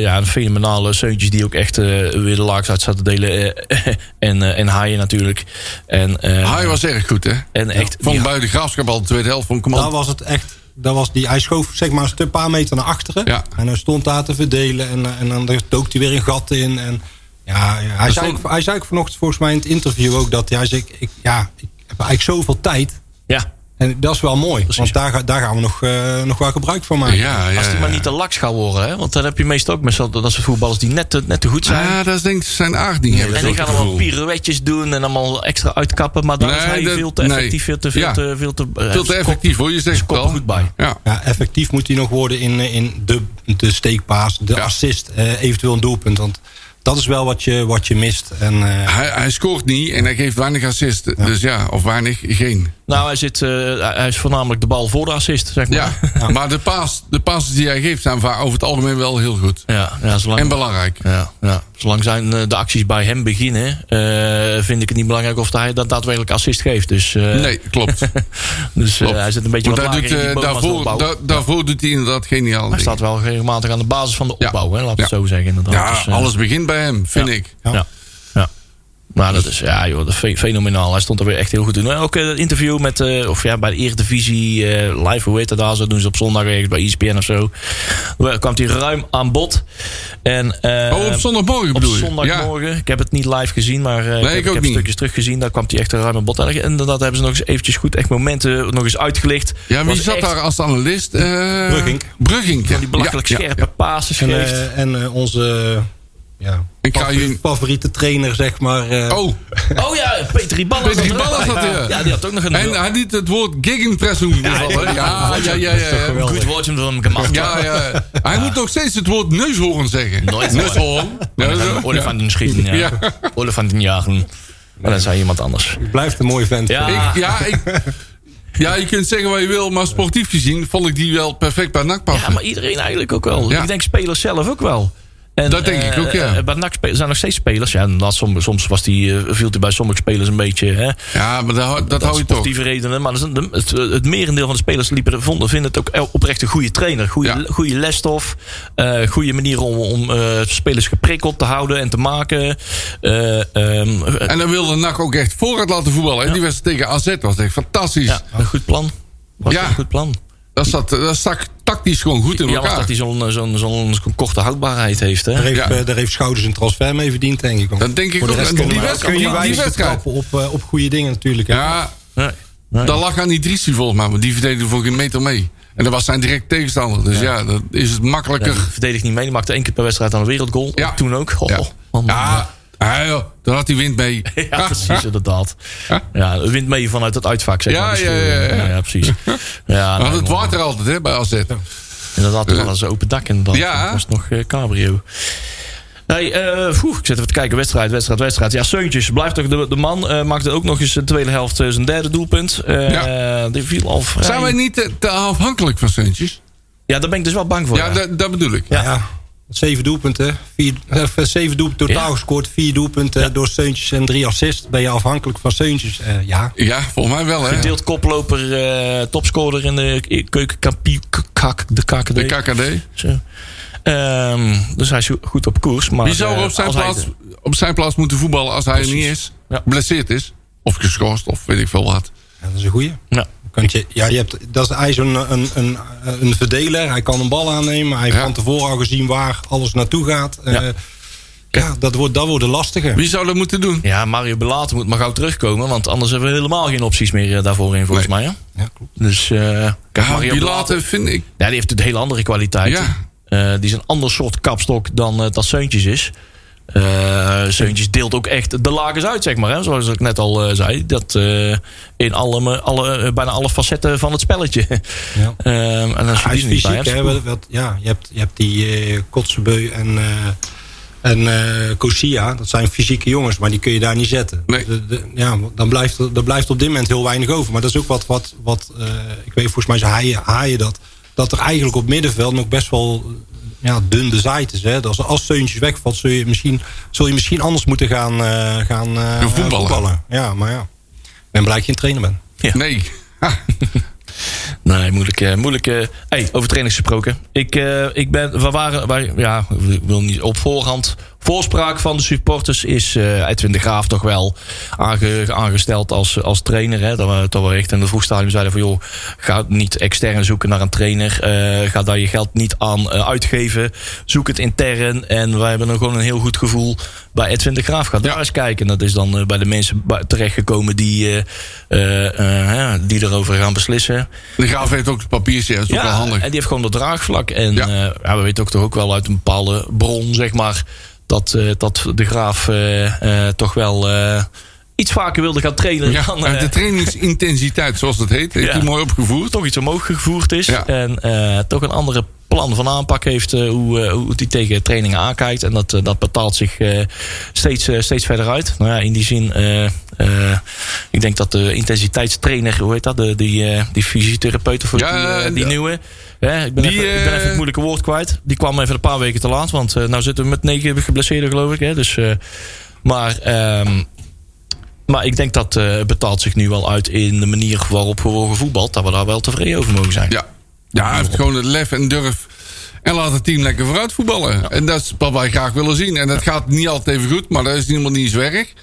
S4: ja, een fenomenale Seuntjes die ook echt eh, weer de laaks uit zaten delen. eh, <laughs> en, eh, en Haaien natuurlijk. En, eh,
S5: Hij was erg goed, hè?
S4: en echt, Nou,
S5: Van
S4: die-
S5: bij de graafschap al de tweede helft van
S6: Daar
S5: command.
S6: was het echt. Daar was die, hij schoof zeg maar een stuk- paar meter naar achteren.
S5: Ja.
S6: En hij stond daar te verdelen. En, eh, en dan dook hij weer een gat in. En, ja, ja, hij, zei,
S5: stond-
S6: ook- hij zei ook vanochtend volgens mij in het interview ook dat hij zei: ik, ik- ja, ik heb eigenlijk zoveel tijd.
S4: ja.
S6: En dat is wel mooi.
S4: Precies.
S6: Want daar, ga- daar gaan we nog, eh, nog wel gebruik van maken.
S5: Ja, ja.
S4: Als die maar niet te laks gaat worden, hè? Want dan heb je meestal ook met zo- dat soort voetballers die net te, net te goed zijn.
S5: Ja, dat is denk ik zijn aard niet.
S4: en die gaan allemaal pirouetjes doen en allemaal extra uitkappen. Maar daar
S5: Nee,
S4: is hij
S5: dat-
S4: veel te
S5: nee.
S4: effectief, veel te... Veel
S5: Ja.
S4: te, veel te, eh,
S5: Veel te
S4: zijn
S5: effectief, hoor. Je zegt
S4: kop-
S5: het
S4: kop er
S5: al.
S4: goed bij.
S5: Ja.
S6: Ja, effectief moet hij nog worden in, eh, in de, de steekpaas, de
S5: Ja.
S6: assist, eh, eventueel een doelpunt. Want dat is wel wat je, wat je mist. En, eh,
S5: Hij, hij scoort niet en hij geeft weinig assist. Dus ja, of weinig, geen.
S4: Nou, hij, zit, eh, hij- hij is voornamelijk de bal voor de assist, zeg maar.
S5: Ja, maar de, paas, de passes die hij geeft zijn vaak over het algemeen wel heel goed.
S4: <laughs> ja, ja, zolang,
S5: En belangrijk.
S4: ja, ja. zolang zijn, eh, de acties bij hem beginnen... eh, vind ik het niet belangrijk of hij dat daadwerkelijk assist geeft. Dus, eh,
S5: Nee,
S4: <laughs>
S5: klopt.
S4: dus eh,
S5: klopt.
S4: hij zit een beetje
S5: Want
S4: wat
S5: hij
S4: lager
S5: doet,
S4: in die
S5: eh,
S4: boom als
S5: daarvoor,
S4: opbouw.
S5: da- daarvoor doet hij inderdaad geniaal.
S4: Hij staat wel regelmatig aan de basis van de
S5: Ja.
S4: opbouw, hè, laat ik
S5: Ja.
S4: het zo zeggen. Inderdaad.
S5: Ja,
S4: Dus, eh,
S5: alles begint bij hem, vind
S4: ja.
S5: ik.
S4: Ja. ja. Maar dat is, ja joh, dat is fe- fenomenaal. Hij stond er weer echt heel goed in. Ook eh, dat interview met, eh, of ja, bij de Eredivisie eh, live, hoe heet dat daar? Zo doen ze op zondag ergens bij E ESPN of zo. Daar kwam hij ruim aan bod. En, eh,
S5: oh, op zondagmorgen
S4: op
S5: bedoel je?
S4: zondagmorgen. Ik heb het niet live gezien, maar eh, ik heb,
S5: ik
S4: ik
S5: ook
S4: heb
S5: niet.
S4: stukjes teruggezien. Daar kwam hij echt een ruim aan bod. En inderdaad hebben ze nog eens eventjes goed echt momenten eh, nog eens uitgelicht.
S5: Ja, ja wie
S4: Was
S5: zat
S4: echt
S5: daar als analist? Eh,
S6: Brugink.
S5: Brugink, ja.
S4: Die belachelijk
S5: Ja, ja,
S4: scherpe
S5: ja.
S4: pases
S6: en,
S4: geeft.
S6: eh, en eh, onze eh, ja,
S5: Ik ga
S6: favoriete,
S5: jullie-
S6: favoriete trainer, zeg maar. eh,
S5: Oh,
S4: Oh ja, Peter Riballas. zat
S5: Peter
S4: er ook
S5: Riballas
S4: bij.
S5: zat er.
S4: <laughs> Ja, die had ook nog een...
S5: en hij liet het woord gegenpressing bevallen. Ja, ja, ja. ja, ja.
S4: Goed woordje van hem gemaakt.
S5: Ja, ja. Hij moet nog steeds het woord neushoorn zeggen.
S4: Nooit
S5: neushoorn. Ja, dat is ook-
S4: Olaf van den Schieten, ja.
S5: Ja.
S4: Olaf van den Jagen. Maar dat zei iemand anders.
S6: Blijft een mooie vent.
S4: Ja.
S5: Ik, ja, ik, Ja, je kunt zeggen wat je wil, maar sportief gezien vond ik die wel perfect bij NAC passen.
S4: Ja, maar iedereen eigenlijk ook wel.
S5: Ja.
S4: Ik denk spelers zelf ook wel. En,
S5: Dat denk ik
S4: eh,
S5: ook, ja.
S4: eh, Bij NAC spe- zijn nog steeds spelers. Ja, inderdaad, soms, soms was die, eh, viel hij bij sommige spelers een beetje... Hè,
S5: Ja, maar dat, hou- dat hou je toch.
S4: sportieve redenen. Maar dat is- de- het, eh, het merendeel van de spelers liepen, er- vonden, vinden het ook oprecht een goede trainer. Goede,
S5: Ja.
S4: goede lesstof. eh, goede manier om, om eh, spelers geprikkeld te houden en te maken. Eh, ehm, eh,
S5: En dan wilde NAC ook echt vooruit laten voetballen. hè. Die wedstrijd tegen AZ was echt fantastisch.
S4: ja, een goed plan. Was
S5: Ja.
S4: een goed plan.
S5: Dat, zat, dat stak tactisch gewoon goed in
S4: Jammer
S5: elkaar.
S4: dat hij zo'n zo'n zo'n korte houdbaarheid heeft. Hè?
S6: Daar heeft,
S5: Ja.
S6: eh, daar heeft Schouders een transfer mee verdiend, denk ik. Want
S5: Dat denk ik
S6: voor de
S5: ook.
S6: rest
S5: En
S6: kunnen
S5: die
S6: we-
S5: wedstrijd-
S6: kun je
S5: die- die
S6: weinig
S5: wedstrijd.
S6: vertrappen op, eh, op goede dingen natuurlijk. hè.
S5: Ja,
S4: Nee. Nee.
S5: dat lag aan die Driestie volgens mij. Maar die verdedigde voor geen meter mee. En dat was zijn direct tegenstander. Dus ja, dat is het
S4: Ja, die
S5: makkelijker.
S4: verdedigt niet mee. Die maakte één keer per wedstrijd aan een wereldgoal.
S5: Ja.
S4: Toen ook. Goh,
S5: Ja,
S4: man, man.
S5: ja. Ah, joh, daar had hij wind mee.
S4: <laughs> Ja, precies, inderdaad.
S5: Ja.
S4: Ja, het wint mee vanuit het uitvak, zeg
S5: Ja,
S4: maar. Dus,
S5: ja,
S4: eh,
S5: ja, ja. <laughs>
S4: precies. Ja,
S5: Maar
S4: nee,
S5: het
S4: man.
S5: water altijd hè, bij AZ.
S4: Inderdaad, toen hadden ze open dak inderdaad.
S5: Ja.
S4: Dat was nog eh, cabrio. Nee, eh, poeh, ik zit even te kijken. Wedstrijd, wedstrijd, wedstrijd. Ja, Seuntjes blijft toch de, de man. eh maakte ook nog eens de tweede helft eh, zijn derde doelpunt. Eh, Die viel al vrij.
S5: Zijn wij niet eh, te, te afhankelijk van Suntjes?
S4: Ja, daar ben ik dus wel bang voor.
S5: Ja, dat, dat bedoel ik.
S4: Ja.
S6: Ja. zeven doelpunten. Vier, of, eh, zeven doelpunten totaal
S4: Ja.
S6: gescoord. Vier doelpunten door Seuntjes en drie assists. Ben je afhankelijk van Seuntjes? Eh, ja.
S5: Ja, volgens mij wel, hè?
S4: Gedeeld koploper, eh, topscorer in de keukenkampioen. Kak, de KKD.
S5: De KKD.
S4: Zo. Ehm, dus hij is zo- goed op koers. Maar,
S5: Wie zou er
S4: eh,
S5: op zijn,
S4: als hij
S5: plaats,
S4: de-
S5: op zijn plaats moeten voetballen als hij er
S4: Precies.
S5: niet is?
S4: Ja.
S5: Geblesseerd is? Of geschorst, of weet ik veel wat.
S6: Ja, dat is een goeie.
S4: Ja.
S6: Kan je, ja, je hebt, dat is, hij is een, een, een, een verdeler. Hij kan een bal aannemen. Hij heeft
S5: Ja.
S6: van tevoren al gezien waar alles naartoe gaat. Eh,
S4: Ja.
S6: ja. dat wordt, dat wordt lastiger.
S5: Wie zou dat moeten doen?
S4: ja, Mario Belater moet maar gauw terugkomen. Want anders hebben we helemaal geen opties meer eh, daarvoor in, volgens mij. Hè?
S6: Ja, klopt.
S4: Dus eh, kijk,
S5: Ja,
S4: Mario Belater
S5: Pilaten vind ik...
S4: ja, die heeft natuurlijk hele andere kwaliteiten. Eh, die is een ander soort kapstok dan eh dat Seuntjes is. Eh Seuntjes deelt ook echt de lakens uit, zeg maar. Hè? Zoals ik net al eh, zei. Dat eh, in alle, alle, eh, bijna alle facetten van het spelletje. <laughs>
S6: Ja.
S4: Ehm, en als je
S6: Hij is
S4: die er niet bij
S6: fysiek.
S4: hebt...
S6: Hè, wat, wat- ja, je, hebt, je hebt die eh Kotzebue en, eh en eh Kosia. Dat zijn fysieke jongens, maar die kun je daar niet zetten.
S5: Nee.
S6: De- de- ja, dan blijft, er- er blijft op dit moment heel weinig over. Maar dat is ook wat, wat, wat eh, ik weet volgens mij zo haaien, haaien dat. Dat er eigenlijk op middenveld nog best wel eh, ja, dun de zaait is. Hè. Dat als, als Steuntjes wegvalt, zul je misschien, zul je misschien anders moeten gaan, eh, gaan eh,
S5: Gaan voetballen.
S6: Ja, maar ja. En blij dat je een trainer bent.
S4: Ja.
S5: Nee. Ha,
S4: <laughs> Nee, moeilijk. eh, moeilijk eh. hey, over trainings gesproken. Ik, eh, ik ben, we waren, wij, ja, ik wil niet op voorhand. Voorspraak van de supporters is eh Edwin de Graaf toch wel aange- aangesteld als, als trainer. Hè? Dat, we, dat we echt in de vroegstadium zeiden van... joh, ga niet extern zoeken naar een trainer. Eh, ga daar je geld niet aan eh, uitgeven. Zoek het intern. En wij hebben dan gewoon een heel goed gevoel bij Edwin de Graaf. Ga daar eens kijken. Dat is dan eh, bij de mensen bij- terechtgekomen die, eh, eh, eh, die erover gaan beslissen.
S5: De graaf heeft ook papiertje, dat is ook wel handig.
S4: En die heeft gewoon dat draagvlak. En
S5: Ja.
S4: ja. ja, we weten ook toch ook wel uit een bepaalde bron, zeg maar, dat, eh, dat de graaf eh, eh, toch wel eh, iets vaker wilde gaan trainen
S5: Ja,
S4: dan
S5: en
S4: eh,
S5: de trainingsintensiteit, zoals dat heet, heeft
S4: Ja.
S5: hij mooi opgevoerd.
S4: toch iets omhoog gevoerd is.
S5: Ja.
S4: En eh, toch een andere plan van aanpak heeft eh, hoe, eh, hoe die tegen trainingen aankijkt. En dat, eh, dat betaalt zich eh, steeds, eh, steeds verder uit. Nou ja, in die zin, eh, eh, ik denk dat de intensiteitstrainer, hoe heet dat, de, die, eh, die fysiotherapeut of
S5: Ja,
S4: die, eh, die
S5: ja.
S4: nieuwe. Hè, ik, ben
S5: Die,
S4: even, ik ben
S5: eh,
S4: even het moeilijke woord kwijt. Die kwam even een paar weken te laat, want eh nou zitten we met negen geblesseerden geloof ik. Hè, dus, eh, maar ehm, maar ik denk dat eh, het betaalt zich nu wel uit in de manier waarop we worden gevoetbald. Dat we daar wel tevreden over mogen zijn.
S5: Ja. ja, hij heeft gewoon het lef en durf. En laat het team lekker vooruit voetballen. En dat is wat wij graag willen zien. En dat gaat niet altijd even goed, maar dat is helemaal niet eens werk.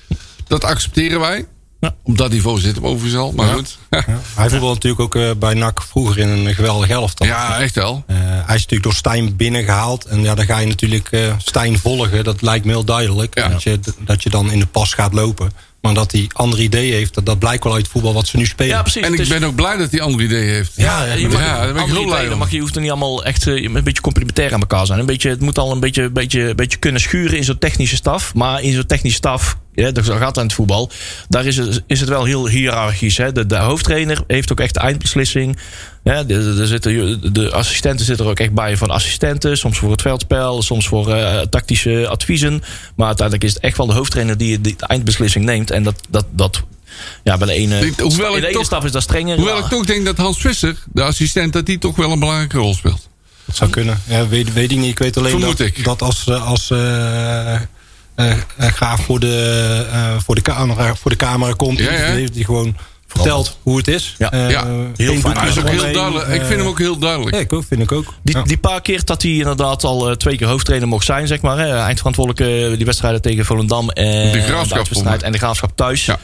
S5: Dat accepteren wij.
S4: Ja.
S5: Op dat niveau zit hem overigens al, maar goed. <laughs>
S6: Ja. Hij voetbalde natuurlijk ook eh, bij NAC vroeger in een geweldig elftal.
S5: Ja, echt wel.
S6: Eh, hij is natuurlijk door Stijn binnengehaald. En ja, dan ga je natuurlijk eh, Stijn volgen. Dat lijkt me heel duidelijk.
S5: Ja.
S6: Dat, je, dat je dan in de pas gaat lopen. Maar dat hij andere ideeën heeft, dat, dat blijkt wel uit het voetbal wat ze nu spelen.
S4: Ja, precies. Dus
S5: En
S4: Het
S5: ik
S4: is-
S5: ben ook blij dat hij andere ideeën heeft.
S6: Ja,
S4: eh, je
S5: ja,
S4: mag,
S5: daar ben ik heel blij
S4: mag,
S5: om.
S4: je hoeft er niet allemaal echt eh, een beetje complimentair aan elkaar zijn. Een beetje, het moet al een beetje, beetje, beetje kunnen schuren in zo'n technische staf. Maar in zo'n technische staf, ja, dat gaat aan het voetbal. Daar is het, is het wel heel hiërarchisch. Hè? De, de hoofdtrainer heeft ook echt de eindbeslissing. Ja, de, de, de zitten, ju- de assistenten zitten er ook echt bij van assistenten. Soms voor het veldspel, soms voor eh, tactische adviezen. Maar uiteindelijk is het echt wel de hoofdtrainer die de eindbeslissing neemt. En dat, dat, dat ja, bij de ene,
S5: Ik- hoewel
S4: in
S5: ik
S4: de ene
S5: toch-
S4: stap is dat strenger.
S5: Hoewel
S4: Ja.
S5: ik toch denk dat Hans Visser, de assistent, dat die toch wel een belangrijke rol speelt.
S6: Dat zou kunnen. Ja, weet, weet ik niet. Ik weet alleen
S5: Vermoed
S6: dat,
S5: ik.
S6: dat als, eh, als eh, eh, eh, Graaf voor de, eh, voor, de camera, voor de camera komt,
S5: Ja, ja.
S6: heeft hij gewoon vertelt hoe het is.
S4: Ja.
S6: Eh,
S5: Ja.
S6: geen
S4: Heel
S6: doek
S4: fijn.
S5: Hij is ook heel
S6: eromheen.
S5: duidelijk. Ik vind hem ook heel duidelijk.
S6: Eh, Ja, ik ook, vind ik ook.
S4: Die,
S6: Ja.
S4: die paar keer dat hij inderdaad al eh, twee keer hoofdtrainer mocht zijn, zeg maar. Hè, eindverantwoordelijke eh, die wedstrijden tegen Volendam en
S5: De Graafschap,
S4: uitwedstrijd en de graafschap thuis.
S5: Ja.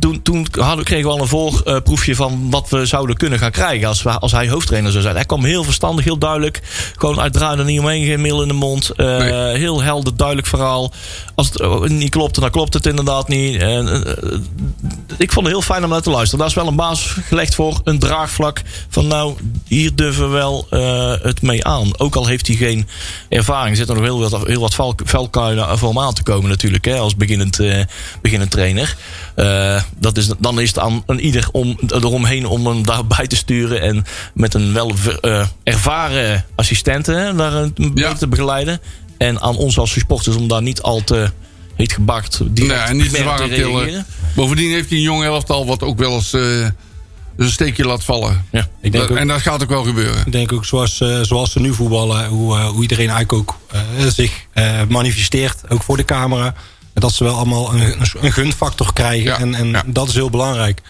S4: Toen, toen hadden, kregen we al een voorproefje van wat we zouden kunnen gaan krijgen als, we, als hij hoofdtrainer zou zijn. Hij kwam heel verstandig, heel duidelijk. Gewoon uit draai er niet omheen, geen middel in de mond. Eh,
S5: Nee.
S4: Heel helder, duidelijk verhaal. Als het eh, niet klopte, dan klopt het inderdaad niet. En, eh, eh, ik vond het heel fijn om naar te luisteren. Daar is wel een basis gelegd voor, een draagvlak. Van nou, hier durven we wel eh, het mee aan. Ook al heeft hij geen ervaring, zit er nog heel wat, heel wat val- valkuilen voor hem aan te komen natuurlijk. Hè, als beginnend, eh, beginnend trainer. Eh, dat is, dan is het aan, aan ieder om, eromheen om hem daarbij te sturen. En met een wel eh, ervaren assistent hè, daar een
S5: Ja.
S4: te begeleiden. En aan ons als supporters om daar niet al te heet gebakt direct
S5: Nee, en niet te
S4: merk
S5: zwaar aan
S4: reageren.
S5: tillen. Bovendien heeft hij een jong elftal wat ook wel eens eh, een steekje laat vallen.
S4: Ja.
S6: Ik denk ook-
S5: en dat gaat ook wel gebeuren.
S6: Ik denk ook zoals, eh, zoals ze nu voetballen, hoe, eh, hoe iedereen eigenlijk ook eh, zich eh, manifesteert, ook voor de camera. En Dat ze wel allemaal een, een gunfactor krijgen.
S5: Ja,
S6: en en
S5: ja.
S6: dat is heel belangrijk.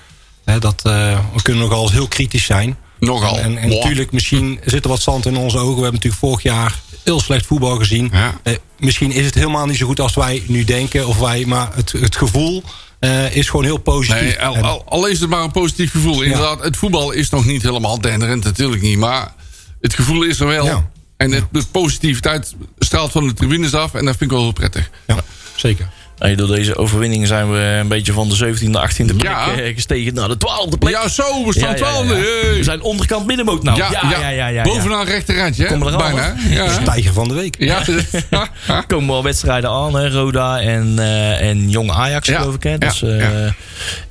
S6: Hè, dat, eh, we kunnen nogal eens heel kritisch zijn.
S5: Nogal.
S6: En, en
S5: Boah.
S6: natuurlijk,
S5: <laughs>
S6: misschien zit er wat zand in onze ogen. We hebben natuurlijk vorig jaar heel slecht voetbal gezien.
S5: Ja.
S6: Eh, misschien is het helemaal niet zo goed als wij nu denken. Of wij, maar het, het gevoel eh, is gewoon heel positief.
S5: Nee, al,
S6: En-
S5: al- al is het maar een positief gevoel. Inderdaad, het voetbal is nog niet helemaal denderend, natuurlijk niet. Maar het gevoel is er wel.
S6: Ja.
S5: En het, de positiviteit straalt van de tribunes af. En dat vind ik wel heel prettig.
S6: ja, zeker.
S4: Hey, door Nou, deze overwinning zijn we een beetje van de 17e, 18e plek
S5: Ja.
S4: eh, gestegen naar de 12e plek.
S5: Ja, zo, we
S4: Ja,
S5: staan
S4: ja, ja.
S5: twaalfde. hey.
S4: We zijn onderkant middenmoot nou.
S5: Ja, ja, Bovenaan rechterrandje, hè?
S4: Komen we er al
S5: Bijna.
S4: af?
S5: hè?
S6: <laughs>
S5: Ja.
S6: Dus Tijger van de week.
S5: Ja. ja.
S4: Er komen wel wedstrijden aan, hè? Roda en, eh, en Jong Ajax,
S5: Ja,
S4: geloof ik. Hè? Dat is,
S5: ja,
S4: eh,
S5: ja.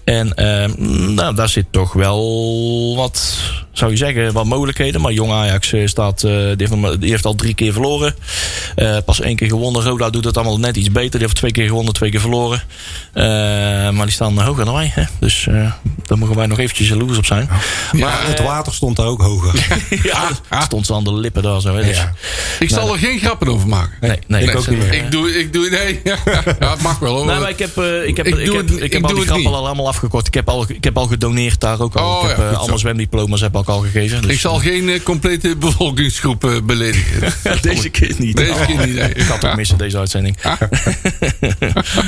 S4: En eh, nou, daar zit toch wel wat, zou je zeggen, wat mogelijkheden. Maar Jong Ajax eh, staat, eh, die, heeft, nog maar- die heeft al drie keer verloren. Eh, pas één keer gewonnen. Roda doet het allemaal net iets beter. Die heeft twee keer gewonnen, twee keer verloren. Eh, maar die staan eh, hoger dan wij. Hè? Dus eh, daar mogen wij nog eventjes jaloers op
S6: Oh.
S4: zijn.
S5: Maar,
S6: Het water stond daar ook hoger.
S4: Ja, dat stond ze aan de lippen daar zo. Hè? Dus,
S6: Ah, Ja.
S5: <laughs> ik zal er geen grappen over maken.
S4: Nee, nee,
S6: ik ook niet meer.
S5: Ik doe, ik doe, nee. <laughs> Ja, het mag wel hoor.
S4: Nee, maar ik heb, eh, ik heb,
S5: Ik
S4: ik
S5: doe
S4: heb,
S5: het-
S4: ik
S5: ik
S4: heb al
S5: doe
S4: die
S5: het
S4: grappen
S5: niet.
S4: al allemaal afgekort. Ik heb al, ik heb al gedoneerd daar ook al.
S5: Oh,
S4: ik heb
S5: ja,
S4: eh,
S5: goed zo.
S4: allemaal zwemdiploma's heb ik ook al gegeven. Dus
S5: Ik
S4: <laughs>
S5: zal geen eh, complete bevolkingsgroep eh, beledigen.
S4: deze keer niet.
S5: Deze keer <laughs> niet. nee.
S4: Ik had het missen, deze uitzending. <laughs>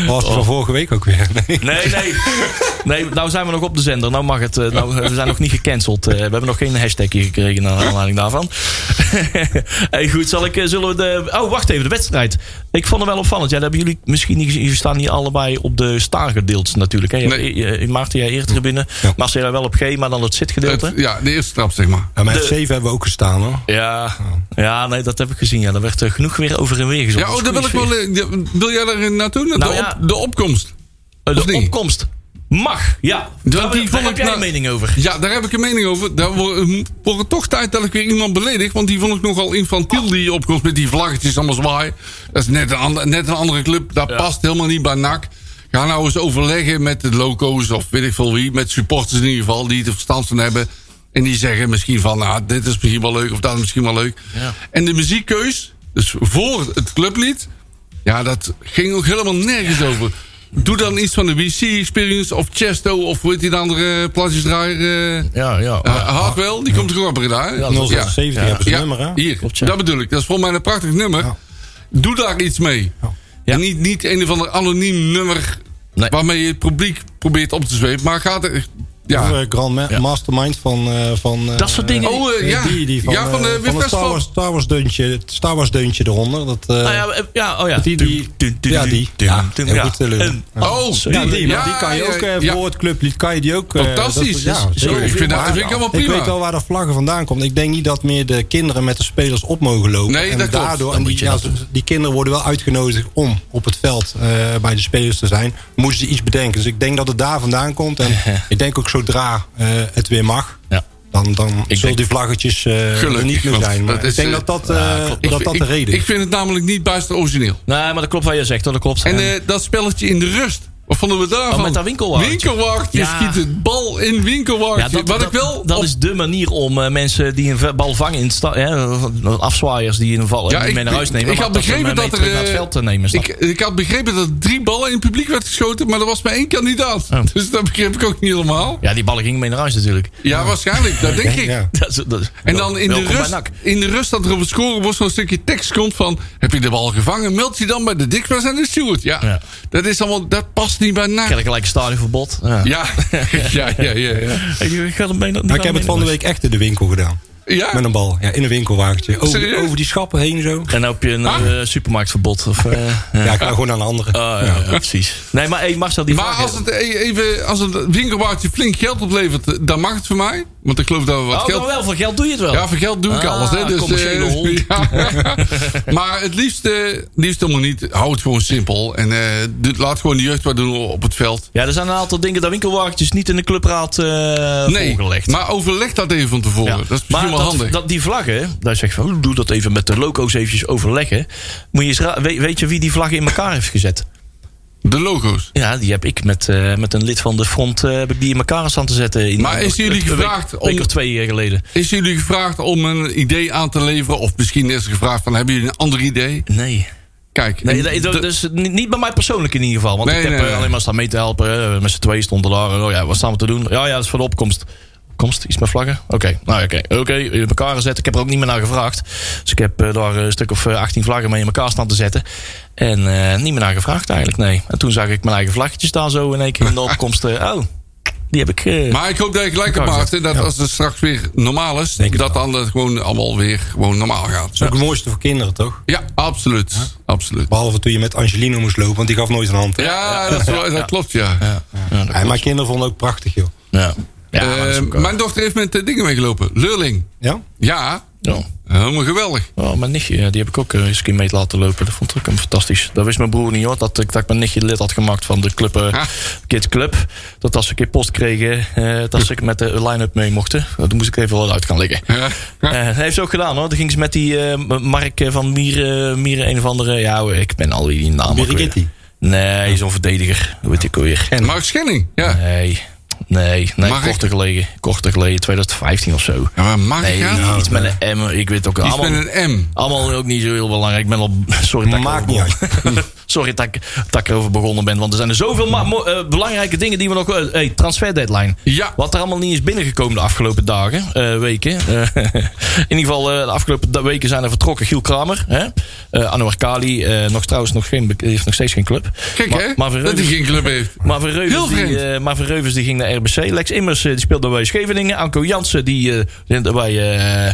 S6: was het van vorige week ook weer. <laughs> Nee.
S4: Nee, nee. <laughs> Nee, nou zijn we nog op de zender. Nou mag het. eh, Nou, eh, we zijn nog niet gecanceld. Eh, We hebben nog geen hashtag hier gekregen naar aanleiding daarvan. <laughs> hey, goed, zal ik, eh, zullen we de... Oh, wacht even, de wedstrijd. Ik vond het wel opvallend. Ja, dat hebben jullie misschien niet gezien. Jullie staan niet allebei op de staargedeeltes natuurlijk. Hè? Je hebt,
S5: Nee.
S4: eh, eh, Maarten, jij eerder binnen.
S6: Ja.
S4: Marcel wel op G, maar dan het zitgedeelte.
S5: Het- ja, de eerste trap, zeg maar.
S6: Ja, maar
S4: De-
S6: F7 hebben we ook gestaan hoor.
S4: Ja, ja, nee, dat heb ik gezien. Ja, daar werd eh, genoeg weer over en weer gezongen.
S5: Ja, oh, daar wil ik wel. eh, ja, Wil jij daar naartoe? De,
S4: Nou
S5: op-
S4: ja.
S5: de opkomst.
S4: Eh,
S5: of
S4: De
S5: niet?
S4: opkomst mag, ja. Daar,
S5: die
S4: daar
S5: vond
S4: heb
S5: ik
S4: jij
S5: nou-
S4: een mening over.
S5: Ja, daar heb ik een mening over. Daar wo- eh, wordt het toch tijd dat ik weer iemand beledig. Want die vond ik nogal infantiel, die opkomst met die vlaggetjes allemaal zwaaien. Dat is net een, ander- net een andere club. Dat past helemaal niet bij NAC. Ga nou eens overleggen met de loco's of weet ik veel wie. Met supporters in ieder geval, die er verstand van hebben. En die zeggen misschien van, nou, dit is misschien wel leuk of dat is misschien wel leuk.
S4: Ja.
S5: En de muziekkeus, dus voor het clublied... Ja, dat ging ook helemaal nergens over. Doe dan iets van de WC Experience of Chesto of hoe heet die andere plaatjesdraaier? eh
S4: Ja, ja.
S5: eh,
S6: ah,
S5: Hartwell, die komt er gewoon op Breda. hè?
S6: 076 hebben ze
S5: Ja,
S6: nummer hè.
S5: hier,
S4: Klopt, ja.
S5: dat bedoel ik. Dat is volgens mij een prachtig nummer.
S6: Ja.
S5: Doe daar iets mee. En niet, niet een of ander anoniem nummer
S4: Nee.
S5: waarmee je het publiek probeert op te zwepen. Maar gaat er... Ja.
S6: Of, eh, Grand Ma- Mastermind van... eh, van eh,
S4: Dat soort dingen.
S5: Oh, eh,
S6: eh,
S5: ja.
S6: Die, die van,
S5: ja, van
S6: eh,
S5: de
S6: van het Star Wars, Star Wars deuntje, het Star Wars deuntje eronder. Dat, eh,
S4: Ah, ja, eh, ja, oh ja.
S6: Die- die-
S4: Dun, dun,
S6: ja,
S4: dun,
S6: die.
S4: dun,
S6: Ja,
S4: dun,
S6: heel goed, eh, Leuven.
S4: En-
S5: Oh,
S4: Sorry.
S6: die,
S5: Ja,
S6: maar die kan je
S5: ja,
S6: ook eh,
S5: ja.
S6: voor het clublied kan je die ook. eh,
S5: Fantastisch.
S6: dat- ja,
S5: Zo,
S6: zeker.
S5: ik vind dat-
S6: Maar
S5: dat vind ik allemaal
S6: Ik
S5: prima.
S6: weet wel waar de vlaggen vandaan komt. Ik denk niet dat meer de kinderen met de spelers op mogen lopen.
S5: Nee,
S6: en
S5: dat klopt.
S6: daardoor,
S5: Dan
S6: en die,
S5: moet je
S6: ja,
S5: dat
S6: ze- die kinderen worden wel uitgenodigd om op het veld eh, bij de spelers te zijn. Moeten ze iets bedenken. Dus ik denk dat het daar vandaan
S5: <laughs>
S6: komt. En ik denk ook zodra eh, het weer mag.
S4: Ja.
S6: Dan, dan zullen
S4: denk-
S6: die vlaggetjes eh,
S5: Gelukkig,
S6: er niet meer
S5: want
S6: zijn. Maar
S5: dat is,
S6: ik denk
S5: eh,
S6: dat dat, eh,
S5: Ik-
S6: dat, dat
S5: ik-
S6: de reden is.
S5: Ik vind het namelijk niet buiten origineel.
S4: Nou, Nee, maar dat klopt wat je zegt, hoor, dat klopt.
S5: En
S4: En-
S5: eh, dat spelletje in de rust. Wat vonden we daarvan?
S4: Oh, met dat winkelwagentje.
S5: Winkelwacht, je
S4: Ja.
S5: schiet het bal in winkelwacht.
S4: Ja, dat,
S5: Wat
S4: dat-
S5: ik wel...
S4: dat
S5: op-
S4: is de manier om eh, mensen die een v- bal vangen in het sta- hè, afzwaaiers die in een val
S5: Ja,
S4: en die
S5: ik-
S4: mee naar huis
S5: ik-
S4: nemen.
S5: ik
S4: maar
S5: had
S4: ze hem,
S5: begrepen
S4: eh, mee
S5: dat er,
S4: terug naar het
S5: eh,
S4: veld te nemen. snap
S5: ik, ik had begrepen dat er drie ballen in het publiek werd geschoten, maar er was maar één kandidaat.
S4: Oh.
S5: Dus dat begreep ik ook niet helemaal.
S4: Ja, die ballen gingen mee naar huis natuurlijk. <laughs>
S5: Ja, waarschijnlijk, dat denk ik.
S6: Ja.
S4: Dat, is- dat is-
S5: En dan in de,
S4: Welkom bij
S5: rust,
S4: NAC.
S5: in de rust dat er op het scorebord zo'n stukje tekst komt van... heb je de bal gevangen, meld je dan bij de Dikwijls en de Steward. Ja,
S4: Ja.
S5: Dat, is allemaal, dat past niet bij NAC.
S4: Krijg gelijk een stadionverbod. Ja.
S5: Ja, <laughs> Nou, ja, ja, ja. ja.
S4: Hey, je gaat hem mee naar-
S6: Maar Nou, ik heb het van de week echt in de winkel gedaan.
S5: ja.
S6: Met een bal. Ja, in een winkelwagentje. Over,
S5: Serieus?
S6: over die schappen heen zo.
S4: En dan heb je een
S5: Ah.
S4: eh, supermarktverbod. Of, eh, ja.
S6: Ja, ik ga gewoon aan de andere.
S4: Ah, ja, ja, precies. Nee, maar hey, Marcel, die
S5: Maar
S4: vraag
S5: als
S4: is-
S5: het, e- even, als het winkelwaartje flink geld oplevert, eh, dan mag het voor mij. Want ik geloof dat we wat
S4: Oh,
S5: geld...
S4: maar wel, voor geld doe je het wel.
S5: Ja, voor geld doe ik
S4: Ah,
S5: alles. Hè. Dus,
S4: commerciële
S5: eh,
S4: hond.
S5: <laughs> ja. maar het liefst, eh, liefst helemaal niet. Hou het gewoon simpel. En eh, dit- laat gewoon de jeugd wat doen op het veld.
S4: Ja, er zijn een aantal dingen dat winkelwagentjes niet in de clubraad eh
S5: Nee,
S4: voorgelegd.
S5: maar overleg dat even van tevoren.
S4: Ja.
S5: Dat is misschien
S4: maar
S5: wel
S4: dat,
S5: handig.
S4: Dat, die vlaggen, daar zeg je van, hoe, doe dat even met de loco's eventjes overleggen. Moet je eens ra- weet, weet je wie die vlaggen in elkaar heeft gezet?
S5: De logo's.
S4: Ja, die heb ik met, eh, met een lid van de front eh, heb ik die in elkaar staan te zetten. In,
S5: Maar is jullie
S4: een week-
S5: gevraagd
S4: Een week
S5: om-
S4: of twee eh, geleden.
S5: Is jullie gevraagd om een idee aan te leveren? Of misschien is er gevraagd van, hebben jullie een ander idee?
S4: Nee.
S5: Kijk.
S4: Nee,
S5: en
S4: nee, dat-
S5: de-
S4: dus niet niet bij mij persoonlijk in ieder geval. Want
S5: Nee,
S4: ik heb
S5: nee,
S4: eh,
S5: nee.
S4: alleen maar staan mee te helpen. hè. Met z'n tweeën stonden daar. en, Oh ja, wat staan we te doen? Ja, ja, dat is voor de opkomst. Opkomst? Iets met vlaggen? Oké, nou ja, oké. Oké, in elkaar gezet. Ik heb er ook niet meer naar gevraagd. Dus ik heb eh, daar een stuk of eh, 18 vlaggen mee in elkaar staan te zetten. En eh, niet meer naar gevraagd eigenlijk, nee. En toen zag ik mijn eigen vlaggetjes daar zo in één keer in de opkomst. eh, oh, die heb ik... eh,
S5: Maar ik hoop dat je gelijk op
S4: Elkaar
S5: maakt. hè, Dat als het straks weer normaal is,
S6: het
S5: dat dan het gewoon allemaal weer gewoon normaal gaat.
S6: Dat is ook het mooiste voor kinderen, toch?
S5: Ja, absoluut. Absoluut.
S6: Behalve toen je met Angelino moest lopen, want die gaf nooit een hand.
S5: Ja, dat, is wel- dat klopt, ja.
S6: Ja, mijn kinderen vonden het ook prachtig, joh.
S4: ja. Ja, maar dat is
S5: Eh,
S4: ook, eh,
S5: mijn dochter heeft met eh, dingen meegelopen. Lurling.
S6: Ja?
S5: Ja,
S4: ja.
S5: helemaal geweldig.
S4: Oh, mijn nichtje, ja, die heb ik ook eh, eens een keer mee laten lopen. Dat vond ik hem fantastisch. Dat wist mijn broer niet hoor, dat ik, dat ik mijn nichtje lid had gemaakt van de club, eh,
S5: Ah.
S4: Kids Club. Dat als ze een keer post kregen, eh,
S5: <laughs>
S4: dat ze met de line-up mee mochten. Dat moest ik even wel uit gaan liggen.
S5: Ja.
S4: Eh, dat heeft ze ook gedaan hoor. Dan ging ze met die eh, Mark van Mieren, Mieren een of andere. Ja, ik ben al die naam. ook weer.
S6: Birgitti.
S4: Nee, zo'n verdediger. Hoe weet ik alweer.
S5: <laughs> Mark Schenning. Ja.
S4: Nee, nee, nee.
S5: Mark?
S4: Korter geleden. Korter geleden, 2015 of zo.
S5: ja, maar Mark,
S4: Nee,
S5: ja?
S4: iets met een M. Ik weet ook
S5: Die is
S4: allemaal.
S5: met een M.
S4: Allemaal ook niet zo heel belangrijk. Ik ben al. Sorry dat ik
S6: Maakt
S4: erover begon. Sorry dat ik, dat ik erover begonnen ben. Want er zijn er zoveel ma- mo- eh, belangrijke dingen die we nog. eh, hey, transfer deadline.
S5: Ja.
S4: Wat er allemaal niet is binnengekomen de afgelopen dagen, eh, weken. Eh, in ieder geval, eh, de afgelopen da- weken zijn er vertrokken Giel Kramer, hè? Eh, Anouar Kali. eh, nog trouwens, nog geen, be- heeft nog steeds geen club.
S5: Kijk
S4: maar,
S5: hè,
S4: Maar Van
S5: dat hij
S4: Reuvers-
S5: geen club heeft.
S4: maar Van Reuvers,
S5: Heel
S4: die,
S5: vreemd.
S4: eh, maar Van Reuvers die ging naar RBC. Lex Immers eh, die speelde bij Scheveningen. Anko Jansen die eh, bij... eh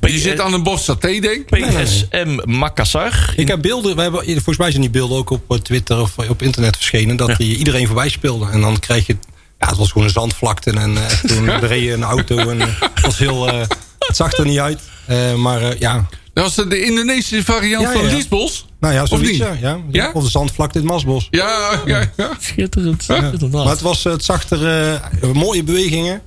S5: Je zit aan een bos saté, denk ik.
S4: PSM Makassar.
S6: Ik heb beelden, we hebben, volgens mij zijn die beelden ook op eh, Twitter of op internet verschenen. Dat die iedereen voorbij speelde. En dan krijg je, ja, het was gewoon een zandvlakte. En eh toen
S5: <laughs>
S6: reed een auto. En, eh, het, was heel, eh, het zag er niet uit. Eh, maar eh, ja,
S5: Dat was de Indonesische variant
S6: Ja, ja,
S5: van
S6: ja.
S5: Liesbos.
S6: nou ja,
S5: of
S6: zoiets.
S5: niet?
S6: Ja, ja,
S5: Ja?
S6: Of de zandvlakte in het Masbos.
S5: Ja, ja, ja.
S4: Schitterend. schitterend.
S6: Maar het, was, eh, het zag er eh, mooie bewegingen.